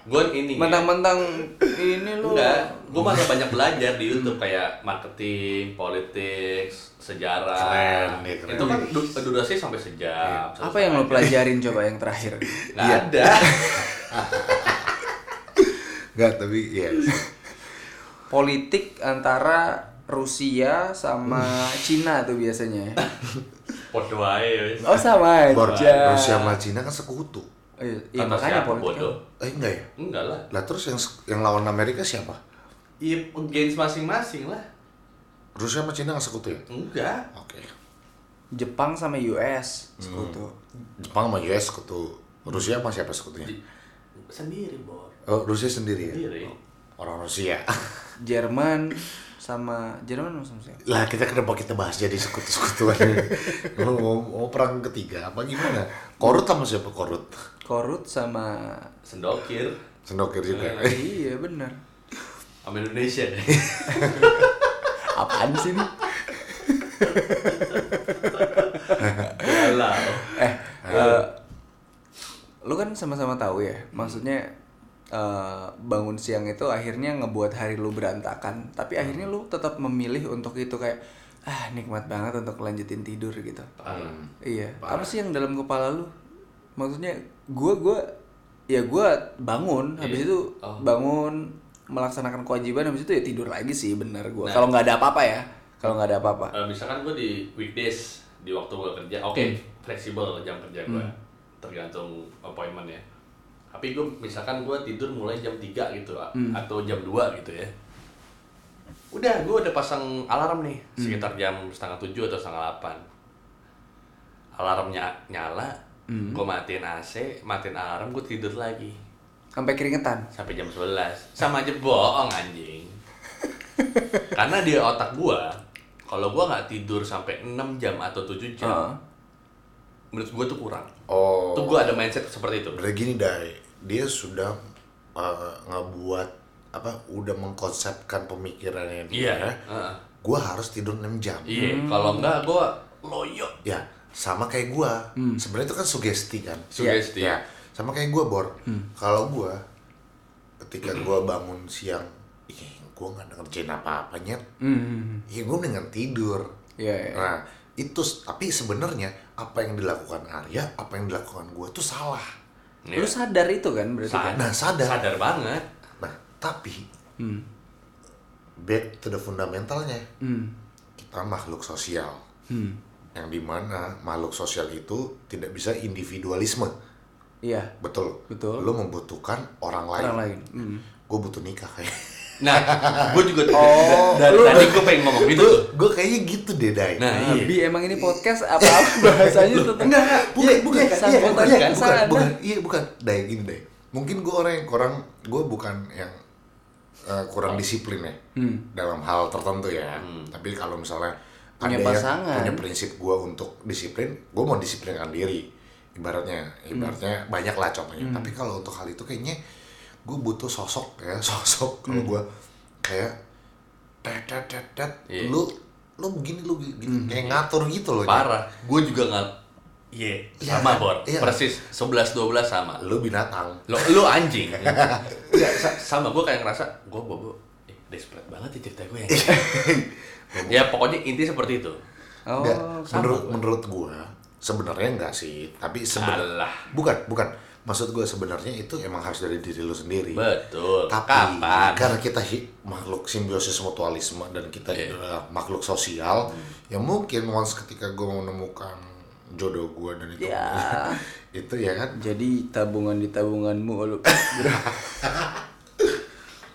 Speaker 2: Gue ini. ya.
Speaker 1: Mentang-mentang ini lu
Speaker 2: Enggak, gue malah banyak belajar di
Speaker 3: Hmm.
Speaker 2: YouTube kayak marketing, politik, sejarah.
Speaker 3: Keren, ya, keren. Iya. ya?
Speaker 2: Itu kan du- durasi sampai sejam. satu
Speaker 1: Apa yang lu
Speaker 2: setengah
Speaker 1: pelajarin coba yang terakhir?
Speaker 2: jam. Nggak ada.
Speaker 3: Enggak, tapi ya.
Speaker 1: Politik antara Rusia sama
Speaker 3: Hmm.
Speaker 1: Cina tuh biasanya ya.
Speaker 2: Podo aja. wes.
Speaker 1: Oh sama
Speaker 3: Nah, Bor,
Speaker 1: aja.
Speaker 3: Rusia sama Cina kan sekutu.
Speaker 1: Oh, iya, iya,
Speaker 2: Kata
Speaker 1: makanya
Speaker 2: siapa,
Speaker 1: politik.
Speaker 2: bodoh?
Speaker 3: Eh enggak ya?
Speaker 2: Enggak lah.
Speaker 3: Lah terus yang se- yang lawan Amerika siapa?
Speaker 2: Iya, gains masing-masing lah.
Speaker 3: Rusia sama Cina kan sekutu ya?
Speaker 2: Enggak.
Speaker 3: Oke.
Speaker 1: Jepang sama US
Speaker 3: Hmm.
Speaker 1: sekutu.
Speaker 3: Jepang sama US sekutu. Rusia sama siapa sekutunya?
Speaker 2: Sendiri, Bor. Iya.
Speaker 3: Oh, Rusia sendiri ya?
Speaker 2: Sendiri.
Speaker 3: Orang Rusia.
Speaker 1: Jerman sama Jerman sama siapa?
Speaker 3: lah kita kenapa kita bahas jadi sekutu-sekutuan mau, mau, mau perang ketiga apa gimana? Korut sama siapa Korut?
Speaker 1: Korut sama
Speaker 2: Sendokir.
Speaker 3: Sendokir juga.
Speaker 1: iya benar.
Speaker 2: Sama Indonesia.
Speaker 1: Apaan sih ini?
Speaker 2: Galau.
Speaker 1: Eh, eh, lu kan sama-sama tahu ya. Maksudnya eh, bangun siang itu akhirnya ngebuat hari lu berantakan, tapi akhirnya lu tetap memilih untuk itu kayak ah nikmat banget untuk lanjutin tidur gitu.
Speaker 2: Parah.
Speaker 1: Iya. Apa sih yang dalam kepala lu? Maksudnya gua gua ya gua bangun habis itu bangun melaksanakan kewajiban habis itu ya tidur lagi sih bener gua. Kalau nggak ada apa-apa ya. Kalau nggak ada apa-apa.
Speaker 2: Eh, misalkan gue di weekdays di waktu gue kerja oke Hmm. fleksibel jam kerja gue tergantung appointment ya tapi gue misalkan gue tidur mulai jam 3 gitu a- atau jam 2 gitu ya udah Hmm. gue udah pasang alarm nih sekitar jam setengah tujuh atau setengah delapan alarmnya nyala gue matiin AC matiin alarm gue tidur lagi
Speaker 1: Sampai keringetan.
Speaker 2: sampai jam 11 sama aja bohong anjing karena di otak gua kalau gua nggak tidur sampai 6 jam atau 7 jam
Speaker 1: Heeh.
Speaker 2: menurut gua tuh kurang
Speaker 3: Oh.
Speaker 2: tuh gua ada mindset seperti itu
Speaker 3: Berarti gini Dai, dia sudah uh, ngebuat apa udah mengkonsepkan pemikirannya dia.
Speaker 2: iya Heeh.
Speaker 3: Gua harus tidur 6 jam.
Speaker 2: iya kalau nggak gua loyo
Speaker 3: Ya, sama kayak gua.
Speaker 2: Hmm.
Speaker 3: Sebenarnya itu kan sugesti kan.
Speaker 2: sugesti
Speaker 3: Ya, sama kayak gua Bor.
Speaker 2: Hmm.
Speaker 3: Kalau gua ketika gua bangun siang, ih, gua nggak ngerjain apa-apa nyet.
Speaker 1: Hmm.
Speaker 3: Ya gua mendingan tidur.
Speaker 1: Iya.
Speaker 2: Eh.
Speaker 1: iya.
Speaker 3: Nah, itu s- tapi sebenarnya apa yang dilakukan Arya, apa yang dilakukan gua itu salah.
Speaker 2: Iya.
Speaker 1: Lu sadar itu kan berarti kan?
Speaker 2: sadar
Speaker 3: Nah, sadar.
Speaker 2: sadar banget
Speaker 3: Nah, tapi
Speaker 1: Hmm.
Speaker 3: back to the fundamentalnya
Speaker 1: Hmm.
Speaker 3: kita makhluk sosial
Speaker 1: Hmm.
Speaker 3: yang dimana makhluk sosial itu tidak bisa individualisme
Speaker 1: Iya.
Speaker 3: betul
Speaker 1: Betul.
Speaker 3: lo membutuhkan orang lain,
Speaker 1: Orang lain. Hmm.
Speaker 3: gue butuh nikah kayak
Speaker 2: nah gua juga
Speaker 1: Oh,
Speaker 2: dari
Speaker 1: lu-
Speaker 2: tadi gua pengen ngomong gitu tuh.
Speaker 3: gue kayaknya gitu deh Dai
Speaker 2: nah
Speaker 1: Nah,
Speaker 2: iya
Speaker 1: Bi, emang ini podcast apa-apa bahasanya tetap enggak enggak.
Speaker 3: bukan bukan iya,
Speaker 1: sanggup
Speaker 3: bukan,
Speaker 1: tadi
Speaker 3: iya,
Speaker 1: kan
Speaker 3: bukan,
Speaker 1: sadar.
Speaker 3: bukan, iya bukan Dai gini Dai mungkin gue orang yang kurang gue bukan yang eh, kurang disiplin ya dalam hal tertentu ya
Speaker 2: Hmm.
Speaker 3: tapi kalau misalnya
Speaker 1: Punya
Speaker 3: ada
Speaker 1: pasangan.
Speaker 3: yang punya prinsip gue untuk disiplin gue mau disiplinkan diri ibaratnya ibaratnya banyak lah contohnya tapi kalau untuk hal itu kayaknya gue butuh sosok ya sosok kalau gue kayak tet tet tet tet
Speaker 2: Iya.
Speaker 3: lu lu begini lu begini kayak ngatur gitu loh
Speaker 2: parah gua juga nggak iya
Speaker 3: Iya,
Speaker 2: sama
Speaker 3: kan?
Speaker 2: bor
Speaker 3: Iya.
Speaker 2: persis 11 12 sama
Speaker 3: lu binatang
Speaker 2: lo lo anjing
Speaker 1: Iya.
Speaker 2: Nggak, sa- sama gue kayak ngerasa gue bobo eh, desperate banget ya cerita gue ya
Speaker 1: Iya.
Speaker 2: ya pokoknya inti seperti itu
Speaker 1: Oh,
Speaker 3: Nggak,
Speaker 1: sama.
Speaker 3: menurut menurut gua sebenarnya enggak sih, tapi sebenarnya
Speaker 2: Alah.
Speaker 3: bukan bukan maksud gua sebenarnya itu emang harus dari diri lu sendiri.
Speaker 2: betul
Speaker 3: Tapi
Speaker 1: kan
Speaker 2: kapan
Speaker 3: karena kita hi- makhluk simbiosis mutualisme dan kita
Speaker 2: Iya.
Speaker 3: adalah makhluk sosial, ya mungkin once ketika gua menemukan jodoh gua dan itu
Speaker 1: Ya.
Speaker 3: itu ya kan.
Speaker 1: Jadi tabungan di tabunganmu lu.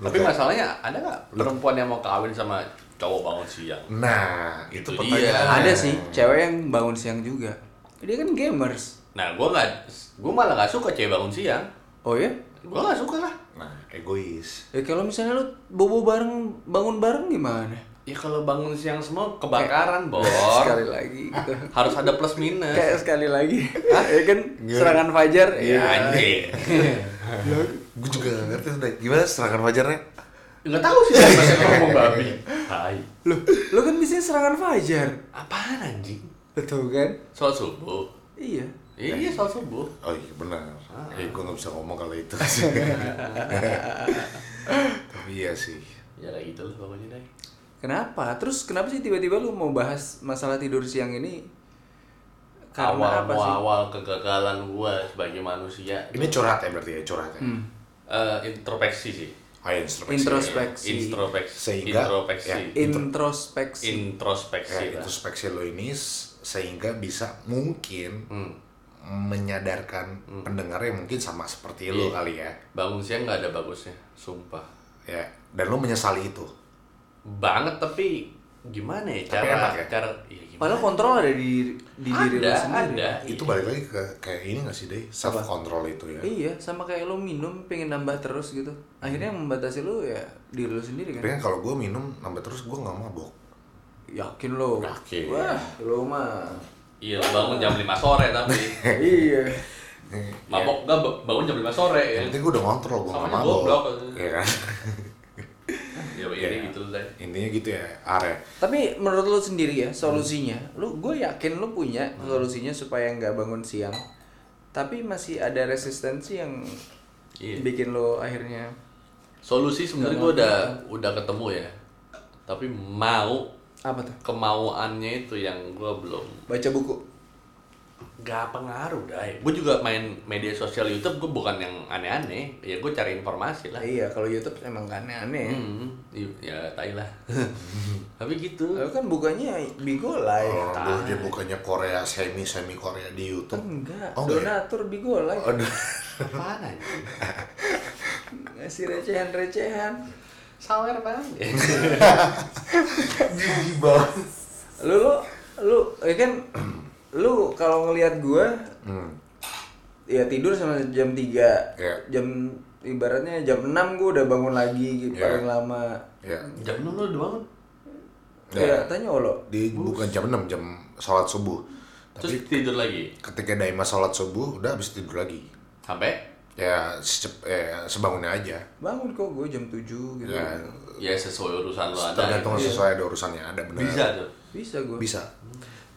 Speaker 2: tapi masalahnya ada nggak perempuan yang mau kawin sama cowok bangun siang
Speaker 3: Nah, itu,
Speaker 2: Itu dia.
Speaker 3: pertanyaan.
Speaker 1: Ada sih cewek yang bangun siang juga. Dia kan gamers.
Speaker 2: nah gue nggak gue malah nggak suka cewek bangun siang
Speaker 1: Oh ya?
Speaker 2: gue nggak suka lah
Speaker 3: Nah, egois.
Speaker 1: Ya kalau misalnya lu bobo bareng bangun bareng gimana?
Speaker 2: ya kalau bangun siang semua kebakaran bor
Speaker 1: Sekali lagi gitu.
Speaker 2: harus ada plus minus
Speaker 1: Kayak sekali lagi. ya kan serangan fajar Iya.
Speaker 2: ya anjing
Speaker 3: Gua juga nggak ngerti tuh, Dai. gimana serangan wajarnya?
Speaker 2: nggak tahu sih siapa yang ngomong
Speaker 1: Iya.
Speaker 2: babi Hai.
Speaker 1: Loh, lu kan bisa serangan fajar.
Speaker 2: apaan anjing
Speaker 1: Betul kan?
Speaker 2: Soal subuh.
Speaker 1: Iya.
Speaker 2: Iya, soal subuh.
Speaker 3: Oh iya benar. Eh gue nggak bisa ngomong kalau itu. Tapi iya sih.
Speaker 2: Ya kayak gitu lah pokoknya deh.
Speaker 1: Kenapa? Terus kenapa sih tiba-tiba lu mau bahas masalah tidur siang ini?
Speaker 2: awal
Speaker 1: Karena apa sih?
Speaker 2: awal kegagalan gua sebagai manusia
Speaker 3: Ini curhat ya berarti ya curhat ya.
Speaker 2: eh, introspeksi sih.
Speaker 3: Oh, ya, introspeksi.
Speaker 1: Introspeksi.
Speaker 2: Introspeksi.
Speaker 3: Sehingga-
Speaker 2: introspeksi.
Speaker 3: ya.
Speaker 1: Introspeksi.
Speaker 3: Ya,
Speaker 2: Introspeksi. lah.
Speaker 3: introspeksi lo ini s- sehingga bisa mungkin
Speaker 2: Hmm.
Speaker 3: menyadarkan pendengarnya mungkin sama seperti
Speaker 2: Iya.
Speaker 3: lo kali ya.
Speaker 2: Bangun siang nggak ada bagusnya, sumpah.
Speaker 3: Ya. Dan lo menyesali itu.
Speaker 2: Banget tapi gimana ya cara
Speaker 3: enak ya?
Speaker 2: cara ya gimana?
Speaker 1: Padahal kontrol ada di di diri lu
Speaker 2: ada,
Speaker 1: sendiri.
Speaker 2: ada. Iya,
Speaker 3: Itu balik lagi ke kayak ini nggak sih deh self control itu ya.
Speaker 1: Iya, sama kayak lu minum pengen nambah terus gitu. Akhirnya yang membatasi lu ya diri lu sendiri
Speaker 3: Tapi
Speaker 1: kan.
Speaker 3: kan kalau gue minum nambah terus gue nggak mabok.
Speaker 1: Yakin lu.
Speaker 3: Yakin.
Speaker 1: Wah, lu mah.
Speaker 2: Iya, bangun jam 5 sore tapi.
Speaker 1: iya.
Speaker 2: Mabok nggak ba- bangun jam 5 sore ya.
Speaker 3: Yang penting gue udah ngontrol gue nggak
Speaker 2: Sama aja
Speaker 3: mabok.
Speaker 2: goblok.
Speaker 3: Iya kan.
Speaker 2: Ya ini gitu deh.
Speaker 3: Intinya gitu ya, are.
Speaker 1: Tapi menurut lu sendiri ya solusinya, lu gue yakin lu punya solusinya supaya nggak bangun siang. Tapi masih ada resistensi yang
Speaker 2: Iya.
Speaker 1: bikin lu akhirnya
Speaker 2: Solusi sebenarnya gue udah udah ketemu ya. Tapi mau
Speaker 1: apa tuh?
Speaker 2: kemauannya itu yang gue belum
Speaker 1: Baca buku.
Speaker 2: gak pengaruh dai gue juga main media sosial YouTube gue bukan yang aneh-aneh ya gue cari informasi lah
Speaker 1: Nah, iya, kalau YouTube emang gak aneh-aneh. ya.
Speaker 2: Hmm, i- ya tai lah tapi gitu
Speaker 1: Lu kan bukannya Bigo Live.
Speaker 3: Orang dulu Eh, dia bukannya Korea semi semi Korea di YouTube.
Speaker 1: Enggak,
Speaker 3: Oh, enggak ya?
Speaker 1: donatur Bigo Live.
Speaker 3: Aduh,
Speaker 2: apaan aja
Speaker 1: Ngasih recehan-recehan.
Speaker 2: sawer banget
Speaker 3: gigi banget.
Speaker 1: Lu lu lu ya kan lu kalau ngelihat gua
Speaker 3: Hmm.
Speaker 1: ya tidur sama jam 3
Speaker 3: Iya.
Speaker 1: jam ibaratnya jam 6 gua udah bangun lagi gitu,
Speaker 3: Iya.
Speaker 1: paling lama
Speaker 3: Ya.
Speaker 2: Jam enam lu udah bangun.
Speaker 1: ya tanya lo
Speaker 3: Di bukan jam 6, jam sholat subuh.
Speaker 2: Terus
Speaker 3: Tapi
Speaker 2: tidur lagi.
Speaker 3: ketika Daima sholat subuh, udah habis tidur lagi.
Speaker 2: Sampai
Speaker 3: Ya, secep, ya sebangunnya aja.
Speaker 1: bangun kok gua jam 7 gitu
Speaker 3: Ya,
Speaker 2: ya sesuai urusan lu ada.
Speaker 3: tergantung sesuai ada urusannya ada benar.
Speaker 2: Bisa tuh.
Speaker 1: iya. bisa gua
Speaker 3: Bisa.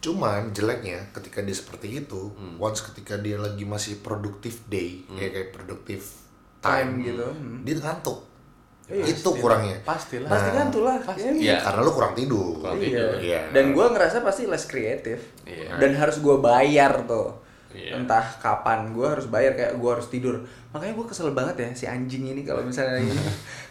Speaker 3: Cuman jeleknya ketika dia seperti itu,
Speaker 1: Hmm.
Speaker 3: once ketika dia lagi masih productive day, ya kayak productive
Speaker 1: Time
Speaker 3: time,
Speaker 1: gitu,
Speaker 3: dia ngantuk.
Speaker 1: Iya,
Speaker 3: itu kurangnya. Nah,
Speaker 2: Pastilah.
Speaker 1: pasti kan tuh lah ya.
Speaker 2: Iya.
Speaker 3: Karena lu kurang tidur.
Speaker 2: Kurang
Speaker 1: Iya.
Speaker 2: tidur.
Speaker 3: Iya.
Speaker 1: Dan gue ngerasa pasti less kreatif.
Speaker 2: Iya.
Speaker 1: Dan harus gue bayar tuh.
Speaker 2: Iya.
Speaker 1: Entah kapan gue harus bayar kayak gue harus tidur. Makanya gue kesel banget ya si anjing ini kalau misalnya ini.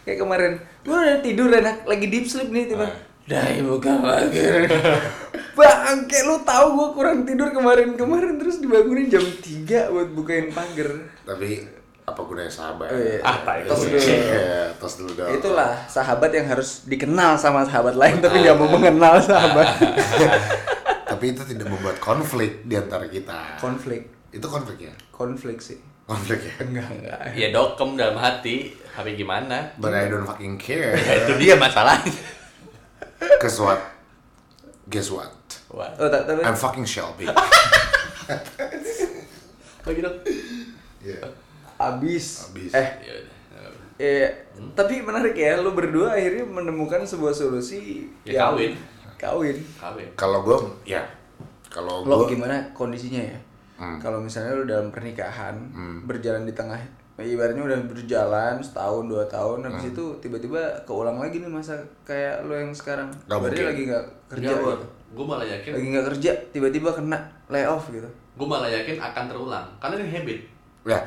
Speaker 1: kayak kemarin gue udah tidur enak lagi deep sleep nih tiba.
Speaker 2: Ah.
Speaker 1: Dai buka lagi. Bangke lu tahu gue kurang tidur kemarin-kemarin terus dibangunin jam 3 buat bukain pagar.
Speaker 3: Tapi apa gunanya sahabat?
Speaker 1: Oh, iya.
Speaker 2: Ah, tai
Speaker 1: Tos
Speaker 2: lu.
Speaker 1: dulu.
Speaker 3: Iya, tos dulu
Speaker 2: Oh.
Speaker 3: dong.
Speaker 1: Itulah sahabat yang harus dikenal sama sahabat lain
Speaker 2: Oh.
Speaker 1: tapi nggak mau mengenal sahabat.
Speaker 3: Tapi itu tidak membuat konflik di antara kita.
Speaker 1: konflik,
Speaker 3: itu konflik ya?
Speaker 1: konflik sih.
Speaker 3: Konflik ya?
Speaker 1: Enggak, enggak.
Speaker 2: Ya dokem dalam hati. Tapi gimana?
Speaker 3: But I don't fucking
Speaker 2: Ya,
Speaker 3: care.
Speaker 2: itu dia masalahnya.
Speaker 3: Guess what? Guess what?
Speaker 2: Wah.
Speaker 1: Oh, ta- tapi
Speaker 3: I'm fucking Shelby.
Speaker 2: Lagi dong.
Speaker 3: Iya.
Speaker 1: abis.
Speaker 3: Abis.
Speaker 1: Eh,
Speaker 2: Ya udah.
Speaker 1: eh, tapi menarik ya, lu berdua akhirnya menemukan sebuah solusi
Speaker 2: Ya,
Speaker 1: yang-
Speaker 2: kawin.
Speaker 1: Kawin.
Speaker 2: Kawin.
Speaker 3: Kalau gue, ya. Kalau
Speaker 1: Lo
Speaker 3: gue,
Speaker 1: gimana kondisinya ya?
Speaker 3: Hmm.
Speaker 1: Kalau misalnya lu dalam pernikahan berjalan di tengah ibaratnya udah berjalan setahun dua tahun
Speaker 3: Hmm.
Speaker 1: habis itu tiba-tiba keulang lagi nih masa kayak lu yang sekarang
Speaker 3: Nggak
Speaker 1: ibaratnya
Speaker 3: mungkin.
Speaker 1: lagi nggak kerja
Speaker 2: Enggak,
Speaker 1: gitu.
Speaker 2: gue malah yakin
Speaker 1: lagi nggak kerja tiba-tiba kena layoff gitu
Speaker 2: gue malah yakin akan terulang karena ini habit
Speaker 3: ya.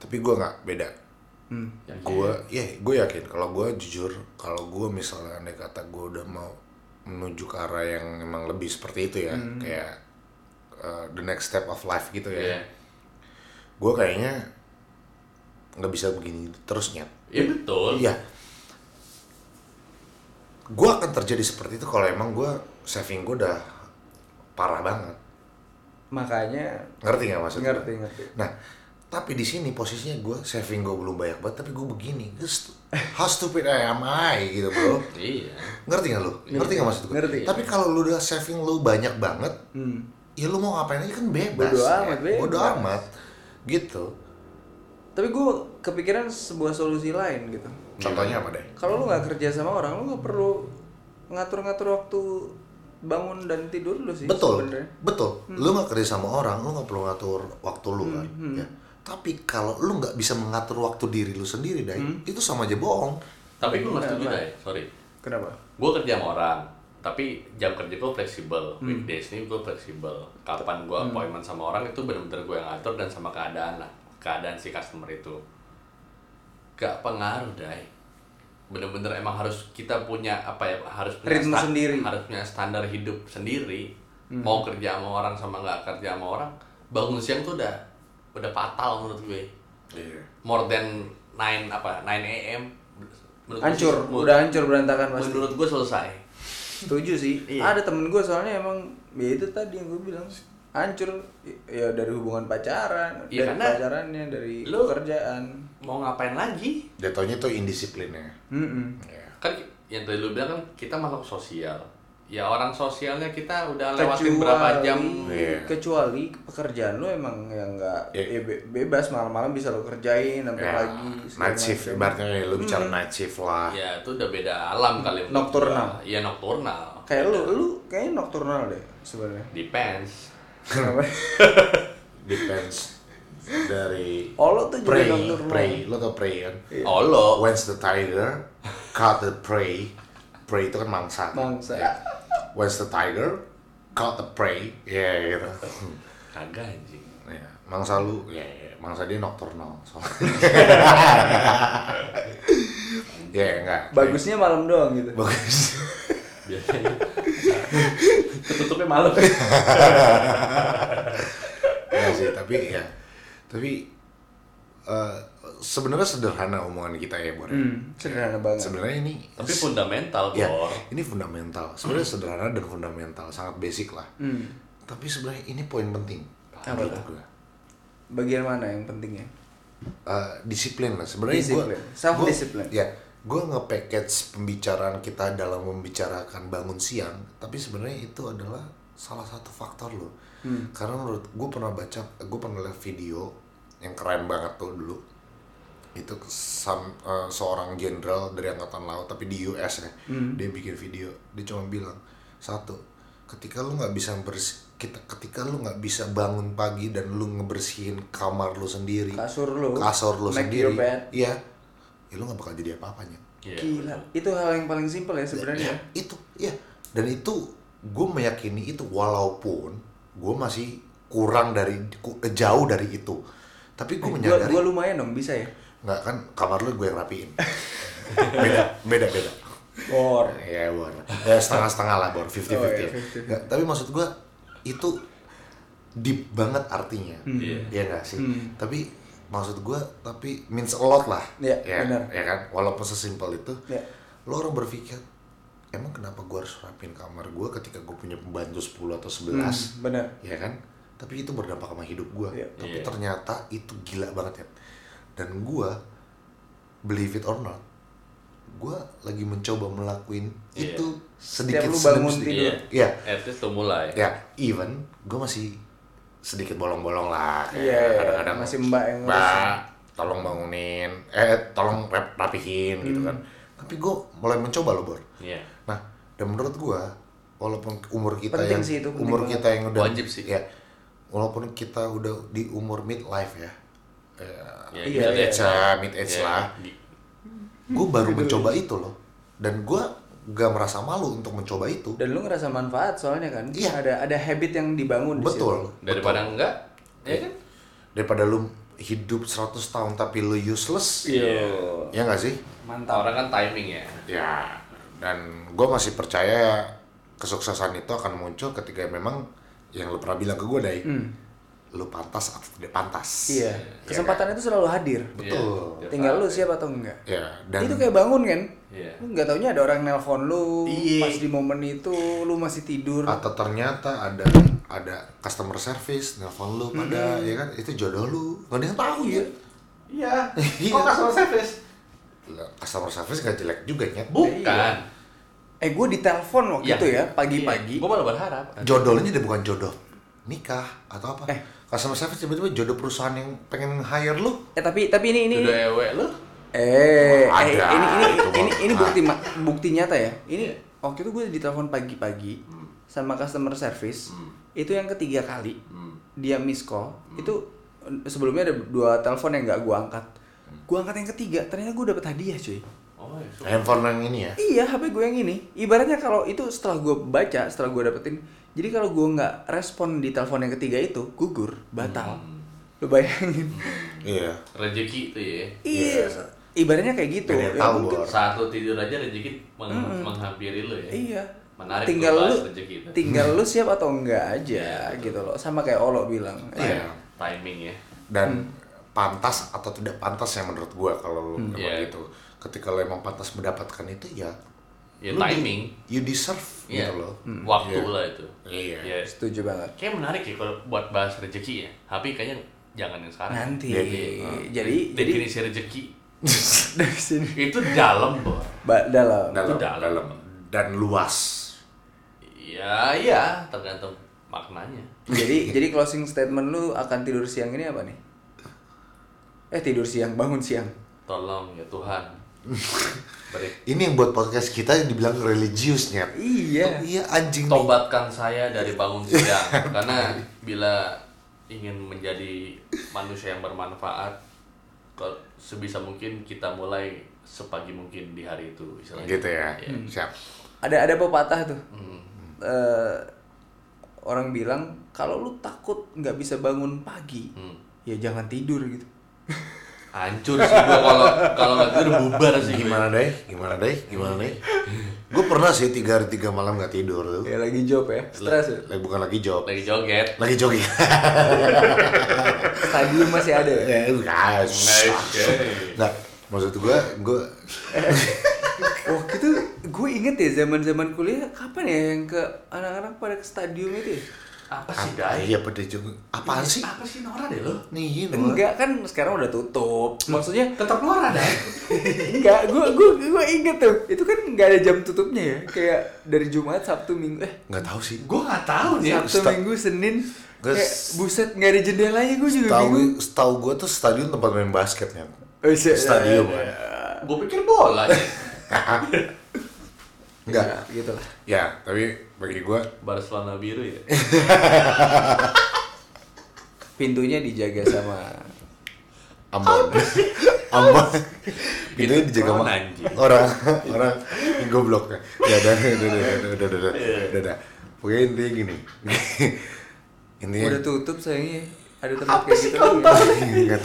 Speaker 3: Tapi gue nggak beda.
Speaker 1: hmm.
Speaker 2: Yakin.
Speaker 3: Gue, ya, gue yakin. Kalau gue jujur, kalau gue misalnya andai kata gue udah mau menuju ke arah yang memang lebih seperti itu ya, kayak uh, the next step of life gitu ya.
Speaker 2: Iya.
Speaker 3: Gue kayaknya nggak bisa begini terus nyet.
Speaker 2: ya betul
Speaker 3: Iya. Gue akan terjadi seperti itu kalau emang gue saving gue udah parah banget.
Speaker 1: makanya
Speaker 3: Ngerti nggak maksudnya?
Speaker 1: ngerti ngerti
Speaker 3: Nah, tapi di sini posisinya gue saving gue belum banyak banget, tapi gue begini. Gua stu- How stupid I am I gitu bro.
Speaker 2: iya
Speaker 3: Ngerti nggak lu? Ngerti nggak maksud gue?
Speaker 1: Ngerti.
Speaker 3: Tapi kalau lu udah saving lu banyak banget,
Speaker 1: hmm.
Speaker 3: ya lu mau ngapain aja kan bebas.
Speaker 1: Bodo
Speaker 3: ya.
Speaker 1: amat, bebas.
Speaker 3: Bodo amat. Gitu.
Speaker 1: tapi gue kepikiran sebuah solusi lain gitu
Speaker 3: Contohnya apa deh?
Speaker 1: kalau lu nggak kerja sama orang lu nggak perlu ngatur-ngatur waktu bangun dan tidur lu sih
Speaker 3: Betul,
Speaker 1: sebenarnya.
Speaker 3: betul.
Speaker 1: Hmm.
Speaker 3: Lu nggak kerja sama orang, lu nggak perlu ngatur waktu lu kan. Ya. Tapi kalau lu nggak bisa mengatur waktu diri lu sendiri, Day,
Speaker 1: Hmm.
Speaker 3: itu sama aja bohong.
Speaker 2: tapi gue nggak setuju
Speaker 1: Iya,
Speaker 2: deh sorry
Speaker 1: kenapa
Speaker 2: gue kerja sama orang tapi jam kerja gue fleksibel
Speaker 1: Hmm.
Speaker 2: weekdays ini gue fleksibel kapan gue appointment sama orang itu bener-bener gue yang ngatur dan sama keadaan lah keadaan si customer itu gak pengaruh dai bener-bener emang harus kita punya apa ya harus punya
Speaker 1: Ritme
Speaker 2: stan-
Speaker 1: sendiri. Hmm.
Speaker 2: harus punya standar hidup sendiri mau kerja sama orang sama nggak kerja sama orang bangun siang tuh udah udah fatal menurut gue more than 9 apa 9 am menurut gue
Speaker 1: hancur
Speaker 2: sih- menurut-
Speaker 1: udah hancur berantakan pasti
Speaker 2: menurut gue selesai
Speaker 1: setuju sih
Speaker 2: Iya.
Speaker 1: ada temen gue soalnya emang ya itu tadi yang gue bilang hancur ya dari hubungan pacaran
Speaker 2: Iya,
Speaker 1: dari
Speaker 2: karena
Speaker 1: pacarannya dari
Speaker 2: lu-
Speaker 1: kerjaan
Speaker 2: mau ngapain lagi
Speaker 3: Jatuhnya itu indisiplinnya.
Speaker 1: Mm-mm.
Speaker 3: Ya.
Speaker 2: kan yang tadi lu bilang kan kita makhluk sosial ya orang sosialnya kita udah lewatin
Speaker 1: kecuali
Speaker 2: berapa jam
Speaker 3: Iya.
Speaker 1: kecuali pekerjaan lu emang yang nggak
Speaker 3: Iya.
Speaker 1: ya be- bebas malam-malam bisa lu kerjain sampai
Speaker 2: Iya.
Speaker 3: Ya,
Speaker 1: pagi segala
Speaker 3: night shift,
Speaker 1: macam. Hmm. Iya.
Speaker 3: ibaratnya ya, lu bicara night shift lah.
Speaker 2: ya itu udah beda alam kali menurut
Speaker 1: Nocturnal.
Speaker 2: gua. iya nocturnal
Speaker 1: kayak lu lu kayaknya nocturnal deh sebenarnya
Speaker 2: depends
Speaker 1: Kenapa?
Speaker 3: Iya. Depends dari
Speaker 1: oh lu tuh juga
Speaker 3: prey,
Speaker 1: nocturnal
Speaker 3: prey. Lu tau prey kan?
Speaker 1: Iya.
Speaker 2: olo
Speaker 3: When's the tiger caught the prey? Prey itu kan mangsa.
Speaker 1: Mangsa.
Speaker 3: Ya. When's the tiger caught the prey? Ya gitu.
Speaker 2: kagak anjing
Speaker 3: Ya, mangsa lu, ya, ya, mangsa dia nocturnal soalnya. ya enggak.
Speaker 1: bagusnya malam doang gitu
Speaker 3: Bagus.
Speaker 2: biasanya ketutupnya malam
Speaker 3: Enggak sih, tapi ya. Tapi eh, sebenarnya sederhana omongan kita ya, Bor.
Speaker 1: Hmm, sederhana banget
Speaker 3: Sebenarnya ini
Speaker 2: tapi fundamental
Speaker 3: ya,
Speaker 2: bor
Speaker 3: ini fundamental. Sebenarnya sederhana dan fundamental, sangat basic lah.
Speaker 1: Hmm.
Speaker 3: Tapi sebenarnya ini poin penting.
Speaker 1: Apa
Speaker 3: menurut
Speaker 1: tuh?
Speaker 3: gua.
Speaker 1: Bagian mana yang pentingnya?
Speaker 3: Eh, disiplin lah sebenarnya gue
Speaker 1: Disiplin. Self-discipline.
Speaker 3: ya gue nge-package pembicaraan kita dalam membicarakan bangun siang tapi sebenarnya itu adalah salah satu faktor loh karena menurut gue pernah baca gue pernah lihat video yang keren banget tuh dulu itu sam- eh, seorang jenderal dari angkatan laut tapi di US ya dia bikin video dia cuma bilang satu ketika lu nggak bisa bersih kita ketika lu nggak bisa bangun pagi dan lu ngebersihin kamar lu sendiri
Speaker 1: Kasur lu.
Speaker 3: kasur lu
Speaker 1: make your
Speaker 3: sendiri
Speaker 1: bed.
Speaker 3: iya ya lu gak bakal jadi apa-apanya
Speaker 2: Iya,
Speaker 1: Gila. Itu hal yang paling simpel ya sebenarnya.
Speaker 3: itu ya dan itu gue meyakini itu walaupun gue masih kurang dari ku- jauh dari itu tapi gue
Speaker 1: Gua,
Speaker 3: menyadari
Speaker 1: gua lumayan dong bisa ya.
Speaker 3: nggak kan kamar lu gue yang rapiin beda beda beda
Speaker 1: Or.
Speaker 3: ya bor ya setengah setengah lah bor fifty
Speaker 1: Oh,
Speaker 3: fifty
Speaker 1: iya, 50-50.
Speaker 3: tapi maksud gue itu deep banget artinya
Speaker 1: Hmm.
Speaker 2: Iya.
Speaker 3: Iya nggak sih? Tapi maksud gua tapi means a lot lah.
Speaker 1: Iya,
Speaker 3: ya,
Speaker 1: benar.
Speaker 3: ya kan? Walaupun sesimpel itu,
Speaker 1: Iya.
Speaker 3: lo orang berpikir, emang kenapa gua harus rapin kamar gua ketika gua punya pembantu 10 atau 11?
Speaker 1: Hmm, Bener.
Speaker 3: Ya kan? Tapi itu berdampak sama hidup gua.
Speaker 1: Iya.
Speaker 3: Tapi
Speaker 2: Iya.
Speaker 3: ternyata itu gila banget ya. Dan gua believe it or not, gua lagi mencoba melakuin
Speaker 2: Iya.
Speaker 3: itu sedikit
Speaker 1: lu
Speaker 3: sedemi
Speaker 1: bangun
Speaker 3: sedikit.
Speaker 2: Iya.
Speaker 1: tidur.
Speaker 3: Iya.
Speaker 2: At least lu mulai.
Speaker 3: Ya, even gue masih sedikit bolong-bolong lah. kayak
Speaker 1: Iya, iya,
Speaker 3: kadang-kadang
Speaker 1: masih mbak yang ngurus.
Speaker 3: Mbak, tolong bangunin, eh tolong rap- rapihin
Speaker 1: Hmm.
Speaker 3: gitu kan. Tapi gue mulai mencoba loh, Bor.
Speaker 2: Iya.
Speaker 3: Nah, dan menurut gue walaupun umur kita
Speaker 1: Penting
Speaker 3: yang
Speaker 1: sih itu, penting
Speaker 3: umur
Speaker 1: banget.
Speaker 3: kita yang udah
Speaker 2: Wajib sih.
Speaker 3: Ya, walaupun kita udah di umur midlife ya.
Speaker 2: Iya,
Speaker 3: Ya,
Speaker 1: Iya,
Speaker 3: mid age
Speaker 2: iya.
Speaker 3: lah, mid age
Speaker 2: Iya.
Speaker 3: lah.
Speaker 2: Di-
Speaker 3: Gue baru mencoba itu loh. Dan gue gak merasa malu untuk mencoba itu.
Speaker 1: Dan lu ngerasa manfaat soalnya kan.
Speaker 3: Iya.
Speaker 1: Ada ada habit yang dibangun di situ.
Speaker 3: Betul.
Speaker 2: Daripada enggak, ya kan?
Speaker 3: daripada lu hidup 100 tahun tapi lu useless
Speaker 2: Iya.
Speaker 3: ya nggak sih
Speaker 1: Mantap.
Speaker 2: Orang kan timing ya.
Speaker 3: ya dan gue masih percaya kesuksesan itu akan muncul ketika memang yang lu pernah bilang ke gue dai lu pantas atau tidak pantas
Speaker 1: Hmm. Iya.
Speaker 3: Ya
Speaker 1: Kesempatan itu selalu hadir.
Speaker 3: Betul.
Speaker 2: Iya.
Speaker 1: Tinggal lu siap atau enggak.
Speaker 3: kan? ya dan
Speaker 1: itu kayak bangun kan?
Speaker 2: Iya.
Speaker 1: Lu nggak taunya ada orang nelpon lu
Speaker 2: Iya.
Speaker 1: pas di momen itu lu masih tidur.
Speaker 3: atau ternyata ada ada customer service nelpon lu pada ya kan itu jodoh lu nggak ada yang tahu ya
Speaker 2: Iya.
Speaker 3: Iya.
Speaker 2: Kok customer service?
Speaker 3: Lah, customer service gak jelek juga ya
Speaker 2: Bukan.
Speaker 1: Eh gue ditelepon
Speaker 3: Iya.
Speaker 1: waktu itu ya pagi-pagi.
Speaker 2: Gue malah berharap.
Speaker 3: jodohnya dia bukan jodoh nikah atau apa
Speaker 1: Eh.
Speaker 3: customer service tiba-tiba jodoh perusahaan yang pengen hire lu
Speaker 1: Eh tapi tapi ini ini
Speaker 2: Jodoh ewe lu.
Speaker 1: eh,
Speaker 3: Wah,
Speaker 1: eh,
Speaker 3: ya. ada.
Speaker 1: ini ini
Speaker 3: Itu Ah. Iya. mah.
Speaker 1: ini ini bukti ma- bukti nyata ya. Ini waktu itu gue ditelepon pagi-pagi
Speaker 3: Hmm.
Speaker 1: sama customer service. Itu yang ketiga kali
Speaker 3: Hmm.
Speaker 1: dia miss call. Itu eh, sebelumnya ada dua telepon yang nggak gue angkat.
Speaker 3: Hmm.
Speaker 1: Gue angkat yang ketiga, ternyata gue dapet hadiah cuy.
Speaker 2: Oh, ya, su-
Speaker 3: handphone yang ini ya
Speaker 1: Iya, HP gue yang ini. Ibaratnya kalau itu setelah gue baca, setelah gue dapetin. Jadi kalau gue nggak respon di telepon yang ketiga itu, gugur, batal.
Speaker 3: Hmm.
Speaker 1: Lo bayangin.
Speaker 3: iya
Speaker 2: rezeki tuh ya.
Speaker 1: Iya. Ibaratnya kayak gitu.
Speaker 3: Gak ada yang
Speaker 1: Ya
Speaker 3: tahu,
Speaker 1: mungkin-
Speaker 3: Bor.
Speaker 2: Saat lu tidur aja rezeki meng- menghampiri lu ya.
Speaker 1: Iya.
Speaker 2: Menarik
Speaker 1: tinggal
Speaker 2: tuh
Speaker 1: lu
Speaker 2: bahas rezeki itu. Iya,
Speaker 1: tinggal lu siap atau enggak aja gitu loh. Sama kayak Olo bilang.
Speaker 3: Iya.
Speaker 2: Timing ya.
Speaker 1: Hmm.
Speaker 3: dan pantas atau tidak pantas ya menurut gua kalau lu
Speaker 1: Hmm.
Speaker 3: emang
Speaker 2: Iya.
Speaker 3: gitu ketika lu emang pantas mendapatkan itu ya
Speaker 2: Ya
Speaker 3: lu di-
Speaker 2: timing.
Speaker 3: you deserve
Speaker 2: Iya.
Speaker 3: gitu loh
Speaker 1: Hmm.
Speaker 2: Waktu
Speaker 3: Iya.
Speaker 2: lah itu.
Speaker 3: Iya.
Speaker 1: Setuju banget.
Speaker 2: Kayak menarik ya kalau buat bahas rezeki ya. Tapi kayaknya jangan yang sekarang. Iya.
Speaker 1: Nanti.
Speaker 3: Jadi,
Speaker 1: jadi jadi
Speaker 2: Definisi rezeki
Speaker 1: dari sini
Speaker 2: itu dalam, Bor.
Speaker 1: Ba- dalam.
Speaker 3: dalam,
Speaker 2: Itu dalam.
Speaker 3: dalam dan luas
Speaker 2: Ya, iya, tergantung maknanya.
Speaker 1: Jadi jadi closing statement lu akan tidur siang ini apa nih? Eh tidur siang, bangun siang.
Speaker 2: Tolong ya Tuhan. Beri
Speaker 3: ini yang buat podcast kita yang dibilang religiusnya
Speaker 1: Iya.
Speaker 3: iya anjing nih.
Speaker 2: tobatkan saya dari bangun siang karena bila ingin menjadi manusia yang bermanfaat kalau sebisa mungkin kita mulai sepagi mungkin di hari itu istilahnya.
Speaker 3: gitu ya
Speaker 2: Iya.
Speaker 3: siap
Speaker 1: Ada ada pepatah tuh.
Speaker 2: Hmm.
Speaker 1: Eh, orang bilang kalau lu takut nggak bisa bangun pagi,
Speaker 2: Hmm.
Speaker 1: ya jangan tidur gitu.
Speaker 2: hancur sih gua kalau kalau nggak tidur bubar sih gua.
Speaker 3: gimana deh gimana deh gimana deh gue pernah sih tiga hari tiga malam nggak tidur tuh
Speaker 1: Ya lagi job ya, stres ya.
Speaker 3: lagi bukan lagi job
Speaker 2: lagi joget
Speaker 3: lagi jogging
Speaker 1: Stadium masih ada ya.
Speaker 3: Eh, enggak Nah, maksud gue gue
Speaker 1: Waktu itu gue inget ya zaman-zaman kuliah kapan ya yang ke anak-anak pada ke stadium itu ya?
Speaker 2: Apa sih,
Speaker 3: Ah,
Speaker 2: Dai?
Speaker 3: Iya pede juga. Apaan sih?
Speaker 2: Apa sih Nora deh lo?
Speaker 3: Nih, Nora.
Speaker 1: Enggak kan sekarang udah tutup. Maksudnya
Speaker 2: Tetap Nora, Dai.
Speaker 1: enggak, gua gua gua inget tuh. Itu kan enggak ada jam tutupnya ya. Kayak dari Jumat, Sabtu, Minggu eh
Speaker 3: Nggak tahu sih.
Speaker 2: Gue nggak tahu nih.
Speaker 1: Sabtu,
Speaker 3: Ustaz.
Speaker 1: Minggu, Senin.
Speaker 3: Guys.
Speaker 1: Kayak buset enggak ada jendelanya gua juga bingung.
Speaker 3: Tahu tahu gue tuh stadion tempat main basket kan.
Speaker 1: Eh, se-
Speaker 3: Stadium kan.
Speaker 2: Gue pikir bola. ya.
Speaker 3: Enggak.
Speaker 2: Iya.
Speaker 1: Ya, gitu lah.
Speaker 3: Ya, tapi bagi gue
Speaker 2: Barcelona biru ya.
Speaker 1: Pintunya dijaga sama
Speaker 3: Ambon. Ambon. Itu Gitu ya, dijaga sama
Speaker 2: orang anjing.
Speaker 3: orang orang yang goblok. Ya udah udah udah udah udah udah.
Speaker 2: Iya.
Speaker 3: udah, udah. Pokoknya intinya gini. intinya
Speaker 1: udah tutup sayangnya. Ada tempat kayak gitu. lagi.
Speaker 3: Ingat.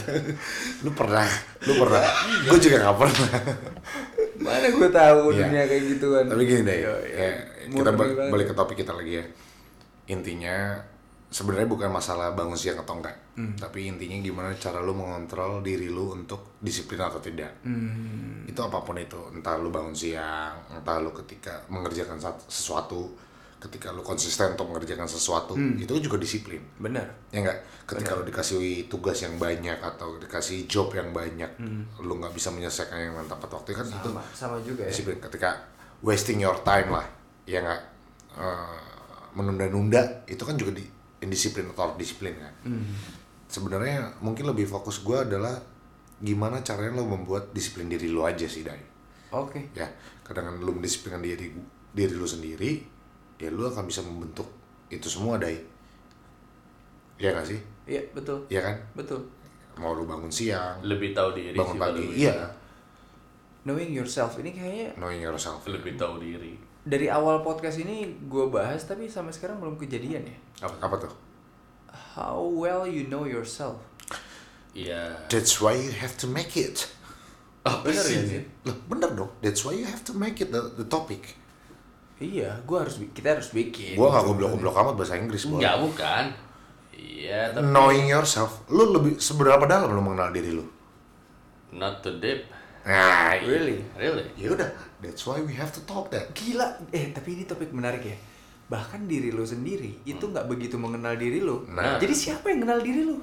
Speaker 3: lu pernah, lu pernah.
Speaker 2: Iya.
Speaker 3: Gue juga gak pernah.
Speaker 1: Mana gua tahu
Speaker 3: Iya.
Speaker 1: dunia kayak gituan.
Speaker 3: Tapi gini deh,
Speaker 1: Iya, iya.
Speaker 3: ya,
Speaker 1: Murni
Speaker 3: kita ba-
Speaker 1: banget.
Speaker 3: balik ke topik kita lagi ya. Intinya sebenarnya bukan masalah bangun siang atau enggak,
Speaker 1: Hmm.
Speaker 3: tapi intinya gimana cara lu mengontrol diri lu untuk disiplin atau tidak.
Speaker 1: Hmm.
Speaker 3: Itu apapun itu, entah lu bangun siang, entah lu ketika mengerjakan sat- sesuatu, ketika lu konsisten untuk mengerjakan sesuatu,
Speaker 1: Hmm.
Speaker 3: itu juga disiplin.
Speaker 1: Benar.
Speaker 3: ya enggak ketika lu dikasih tugas yang banyak atau dikasih job yang banyak lu nggak bisa menyelesaikan yang tepat waktu kan itu
Speaker 1: Hmm. Sama, sama juga ya.
Speaker 3: disiplin ketika wasting your time lah ya enggak Eh, menunda-nunda itu kan juga di indisiplin atau disiplin kan
Speaker 2: Hmm.
Speaker 3: sebenarnya mungkin lebih fokus gua adalah gimana caranya lu membuat disiplin diri lu aja sih Dai
Speaker 1: Oke.
Speaker 3: ya kadang lu mendisiplinkan diri diri lu sendiri ya lu akan bisa membentuk itu semua Dai ya nggak sih
Speaker 1: Iya, betul.
Speaker 3: Iya kan?
Speaker 1: Betul.
Speaker 3: Mau lu bangun siang,
Speaker 2: Lebih tahu diri sih
Speaker 3: bangun
Speaker 2: kalau ya.
Speaker 3: pagi.
Speaker 2: gue.
Speaker 3: Iya,
Speaker 1: Knowing yourself ini kayaknya
Speaker 3: knowing yourself.
Speaker 2: Lebih tahu diri.
Speaker 1: dari awal podcast ini gue bahas tapi sampai sekarang belum kejadian ya.
Speaker 3: Apa, apa tuh?
Speaker 1: How well you know yourself.
Speaker 2: Iya.
Speaker 3: That's why you have to make it. Ah,
Speaker 2: Apa
Speaker 1: Bener ya,
Speaker 2: sih?
Speaker 1: Ji?
Speaker 3: Loh, bener dong. That's why you have to make it the, the topic.
Speaker 1: Iya, gue harus bi- kita harus bikin.
Speaker 3: Gua nggak goblok-goblok amat bahasa Inggris, Boy.
Speaker 2: Enggak Ya, bukan. Iya, tapi
Speaker 3: Knowing yourself. Lu lebih seberapa dalam lu mengenal diri lu?
Speaker 2: not too deep.
Speaker 3: Nah,
Speaker 2: Iya.
Speaker 3: i-
Speaker 1: Really?
Speaker 2: Really?
Speaker 3: ya udah. That's why we have to talk that.
Speaker 1: Gila. Eh tapi ini topik menarik ya. Bahkan diri lo sendiri itu nggak begitu mengenal diri lo.
Speaker 2: Hmm. Nah.
Speaker 1: Jadi siapa yang kenal diri lo?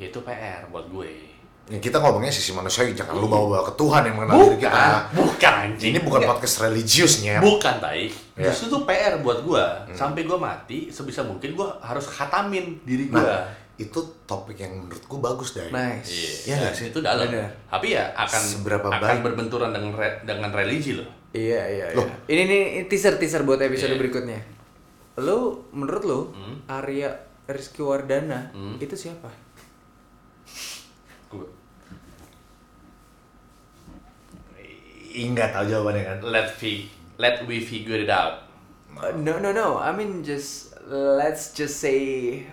Speaker 2: Ya, Itu PR buat gue.
Speaker 3: Ya, kita ngomongnya sisi manusiawi, jangan lu bawa-bawa ke Tuhan yang mengenal diri kita.
Speaker 2: bukan Iya. anjing.
Speaker 3: Ah. Ini bukan podcast religiusnya.
Speaker 2: Bukan tai.
Speaker 3: Ya. Hmm.
Speaker 2: Justru itu PR buat gua. Sampai gua mati sebisa mungkin gua harus khatamin diri gua.
Speaker 3: Nah, itu topik yang menurutku bagus, Dai.
Speaker 1: Nice.
Speaker 2: Iya,
Speaker 3: Iya nggak sih?
Speaker 2: itu dalam.
Speaker 1: Bener.
Speaker 2: Tapi ya akan
Speaker 3: Seberapa
Speaker 2: akan
Speaker 3: baik?
Speaker 2: berbenturan dengan re- dengan religi loh.
Speaker 1: Iya iya.
Speaker 3: Loh.
Speaker 1: iya. Ini nih teaser teaser buat episode
Speaker 2: Iya. Hmm.
Speaker 1: berikutnya. Lo menurut lo Arya Rizky Wardana itu siapa?
Speaker 3: Ih, nggak tahu jawabannya kan.
Speaker 2: Let we let we figure it out. Nah.
Speaker 1: Uh, no no no. I mean just let's just say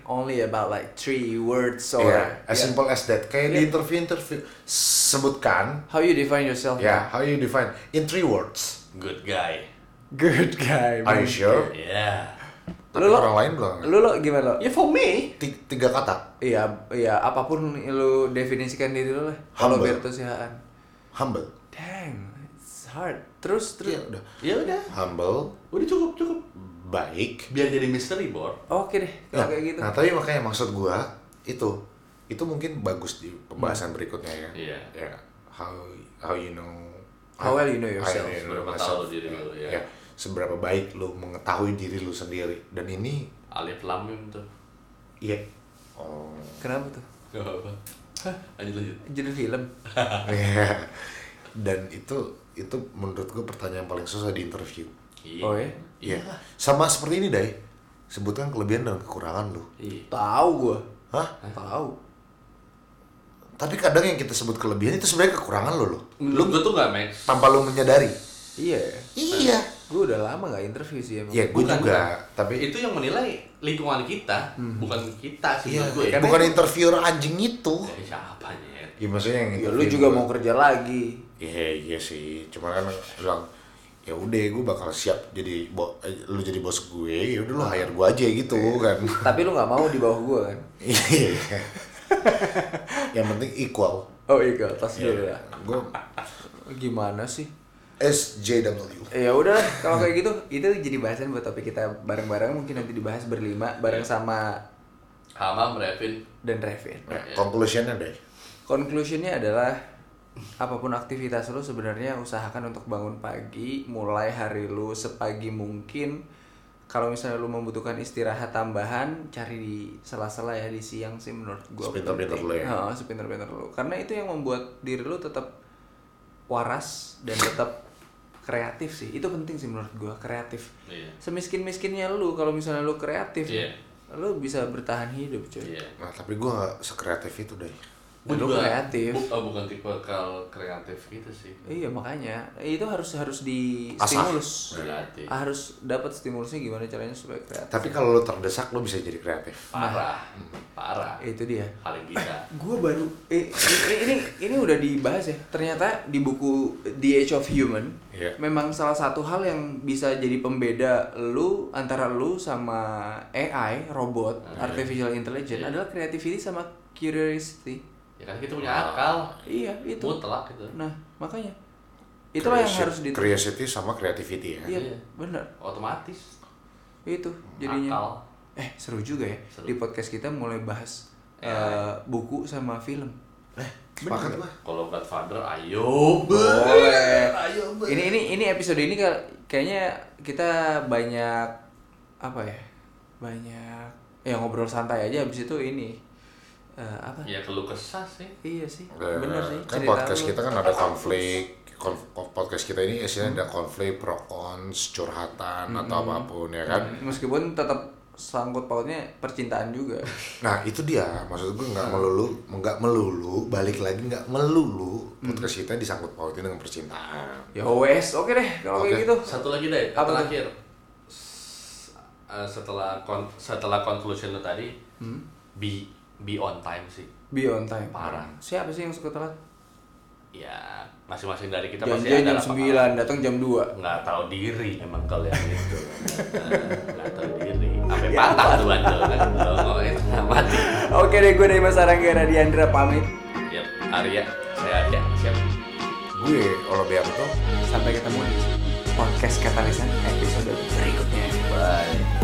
Speaker 1: only about like three words or
Speaker 3: Iya, as
Speaker 1: Yeah.
Speaker 3: simple as that. Kayak di
Speaker 1: Iya.
Speaker 3: interview interview sebutkan
Speaker 1: how you define yourself.
Speaker 3: ya how you define in three words.
Speaker 2: Good guy. Iya.
Speaker 1: Good guy.
Speaker 3: Are
Speaker 1: man.
Speaker 3: you sure?
Speaker 2: Yeah.
Speaker 3: Tapi
Speaker 1: Lu- lu-
Speaker 3: orang lain belum.
Speaker 1: Lu lo gimana lo?
Speaker 2: Yeah, for me.
Speaker 3: Ti- Tiga kata.
Speaker 1: Iya, iya apapun lu definisikan diri lu lah. Kalau
Speaker 3: Humble.
Speaker 1: Berto Sihaan.
Speaker 3: Humble.
Speaker 1: Dang, it's hard. Terus terus.
Speaker 3: Iya, udah.
Speaker 2: Ya udah.
Speaker 3: Humble,
Speaker 2: Udah cukup cukup.
Speaker 3: baik.
Speaker 2: Biar jadi misteri board.
Speaker 1: Oke deh, kalau
Speaker 3: Nah,
Speaker 1: kayak gitu.
Speaker 3: nah, tapi makanya maksud gua itu itu mungkin bagus di
Speaker 1: Hmm.
Speaker 3: pembahasan berikutnya ya.
Speaker 2: Iya.
Speaker 3: Ya, How how you know
Speaker 1: How well you know yourself.
Speaker 3: how you know
Speaker 2: Seberapa
Speaker 3: myself.
Speaker 2: tahu diri Iya, lu, ya.
Speaker 3: Ya, Seberapa baik lu mengetahui diri lu sendiri dan ini
Speaker 2: Alif lam mim tuh.
Speaker 3: iya. Oh.
Speaker 1: Kenapa tuh?
Speaker 2: Gak apa-apa. Lanjut lanjut.
Speaker 1: Judul film.
Speaker 3: Iya. Dan itu itu menurut gue pertanyaan paling susah di interview.
Speaker 2: Iya.
Speaker 1: Oh ya?
Speaker 2: Iya.
Speaker 3: Iya. Sama seperti ini, Dai. Sebutkan kelebihan dan kekurangan lu.
Speaker 2: Iya.
Speaker 1: Tahu gua.
Speaker 3: Hah?
Speaker 1: Tahu.
Speaker 3: Tapi kadang yang kita sebut kelebihan itu sebenarnya kekurangan lu loh.
Speaker 2: Menurut gua tuh gak match.
Speaker 3: Tanpa lu menyadari.
Speaker 1: Iya.
Speaker 3: Iya.
Speaker 1: Gua udah lama nggak interview sih emang. Iya,
Speaker 3: Ya, gue
Speaker 2: Bukan,
Speaker 3: juga. Tapi
Speaker 2: itu yang menilai lingkungan kita, bukan kita sih
Speaker 3: iya,
Speaker 2: menurut gue.
Speaker 1: Karena-
Speaker 3: bukan interviewer anjing itu.
Speaker 2: Dari siapa nih?
Speaker 3: Ya maksudnya yang
Speaker 1: Ya,
Speaker 3: interview
Speaker 1: lu juga
Speaker 3: gua-
Speaker 1: mau kerja lagi.
Speaker 3: Iya, iya sih. Cuma kan bilang ya udah gue bakal siap jadi bo- eh, lu jadi bos gue, ya udah lu hire gue aja gitu kan.
Speaker 1: Tapi lu nggak mau di bawah gua kan?
Speaker 3: Iya. Yang penting equal. Iya.
Speaker 1: Oh iya, tas dulu lah.
Speaker 3: Gue
Speaker 1: Gimana sih?
Speaker 3: SJW.
Speaker 1: Ya udah lah, kalau kayak gitu itu jadi bahasan buat topik kita bareng-bareng mungkin nanti dibahas berlima bareng sama
Speaker 2: Hamam, Revin.
Speaker 1: dan Revin.
Speaker 3: Nah, conclusionnya deh.
Speaker 1: Conclusionnya adalah apapun aktivitas lu sebenarnya usahakan untuk bangun pagi, mulai hari lu sepagi mungkin. Kalau misalnya lu membutuhkan istirahat tambahan, cari di sela-sela ya di siang sih menurut gua.
Speaker 3: Sepinter-pinter
Speaker 1: penting.
Speaker 3: lu ya.
Speaker 1: Heeh, sepinter-pinter lu. Karena itu yang membuat diri lu tetap waras dan tetap kreatif sih. Itu penting sih menurut gua, kreatif.
Speaker 2: Iya.
Speaker 1: Semiskin-miskinnya lu kalau misalnya lu kreatif,
Speaker 2: Iya.
Speaker 1: lu bisa bertahan hidup, cuy.
Speaker 2: Iya.
Speaker 3: Nah, tapi gue gak sekreatif itu deh.
Speaker 1: Lu kreatif.
Speaker 2: bu- oh, bukan tipe kal kreatif gitu sih.
Speaker 1: Iya makanya itu harus harus di stimulus, Ah,
Speaker 2: Berarti.
Speaker 1: harus dapat stimulusnya gimana caranya supaya kreatif.
Speaker 3: Tapi kalau lo terdesak lo bisa jadi kreatif.
Speaker 2: Parah. Iya. Parah.
Speaker 1: Itu dia.
Speaker 2: Paling bisa.
Speaker 1: Gue baru eh, ini, ini ini udah dibahas ya. Ternyata di buku The Age of Human
Speaker 3: Iya.
Speaker 1: memang salah satu hal yang bisa jadi pembeda lu antara lu sama AI, robot, artificial intelligence adalah creativity sama curiosity.
Speaker 2: Ya kan kita punya akal.
Speaker 1: Iya itu.
Speaker 2: Mutlak gitu.
Speaker 1: Nah makanya itulah yang
Speaker 3: Curiosi-
Speaker 1: harus di.
Speaker 3: Curiosity sama creativity ya.
Speaker 1: Iya
Speaker 2: Iya.
Speaker 1: benar
Speaker 2: Otomatis.
Speaker 1: itu jadinya.
Speaker 2: Akal.
Speaker 1: Eh seru juga ya
Speaker 2: Seru.
Speaker 1: di podcast kita mulai bahas
Speaker 2: Ya. Eh.
Speaker 1: eh, buku sama film.
Speaker 3: Sepakat lah.
Speaker 2: Kalau Godfather, ayo.
Speaker 1: Boleh. Ini ini ini episode ini kal- kayaknya kita banyak apa ya banyak ya ngobrol santai aja habis itu ini eh, apa?
Speaker 2: Ya keluh kesah sih.
Speaker 1: Iya sih
Speaker 3: Eh,
Speaker 1: bener sih
Speaker 3: Kan
Speaker 1: cerita
Speaker 3: podcast
Speaker 1: lu.
Speaker 3: kita kan ada konflik. Konf- podcast kita ini
Speaker 1: Hmm.
Speaker 3: isinya ada konflik pro cons, curhatan atau apapun ya kan.
Speaker 1: Iya. meskipun tetap sangkut pautnya percintaan juga.
Speaker 3: Nah itu dia maksud gue
Speaker 1: Hmm.
Speaker 3: nggak melulu nggak melulu balik lagi nggak melulu
Speaker 1: Hmm.
Speaker 3: podcast kita disangkut pautin dengan percintaan.
Speaker 1: ya wes oke deh kalau
Speaker 3: Oke.
Speaker 1: kayak gitu.
Speaker 2: Satu lagi deh,
Speaker 1: Apa
Speaker 2: kata
Speaker 1: tuh?
Speaker 2: terakhir. S- eh, setelah kon setelah conclusion lo tadi,
Speaker 1: Hmm?
Speaker 2: be be on time sih.
Speaker 1: Be on time.
Speaker 2: Parah.
Speaker 1: Siapa sih yang suka telat?
Speaker 2: Ya, masing-masing dari kita pasti
Speaker 1: Janjian
Speaker 2: ada
Speaker 1: jam
Speaker 2: lah
Speaker 1: 9, datang jam 2.
Speaker 2: pengalaman. nggak tahu diri emang kalian itu Eh, nggak tahu diri sampai
Speaker 1: Ya,
Speaker 2: patah tuh bandel kan Kalau ngomongin setengah mati
Speaker 1: Oke deh, gue dari Mas Arangga Radiandra pamit.
Speaker 2: ya Arya saya Arya siap
Speaker 3: Gue Olobearto
Speaker 1: Sampai ketemu di podcast Katalisan episode berikutnya.
Speaker 2: bye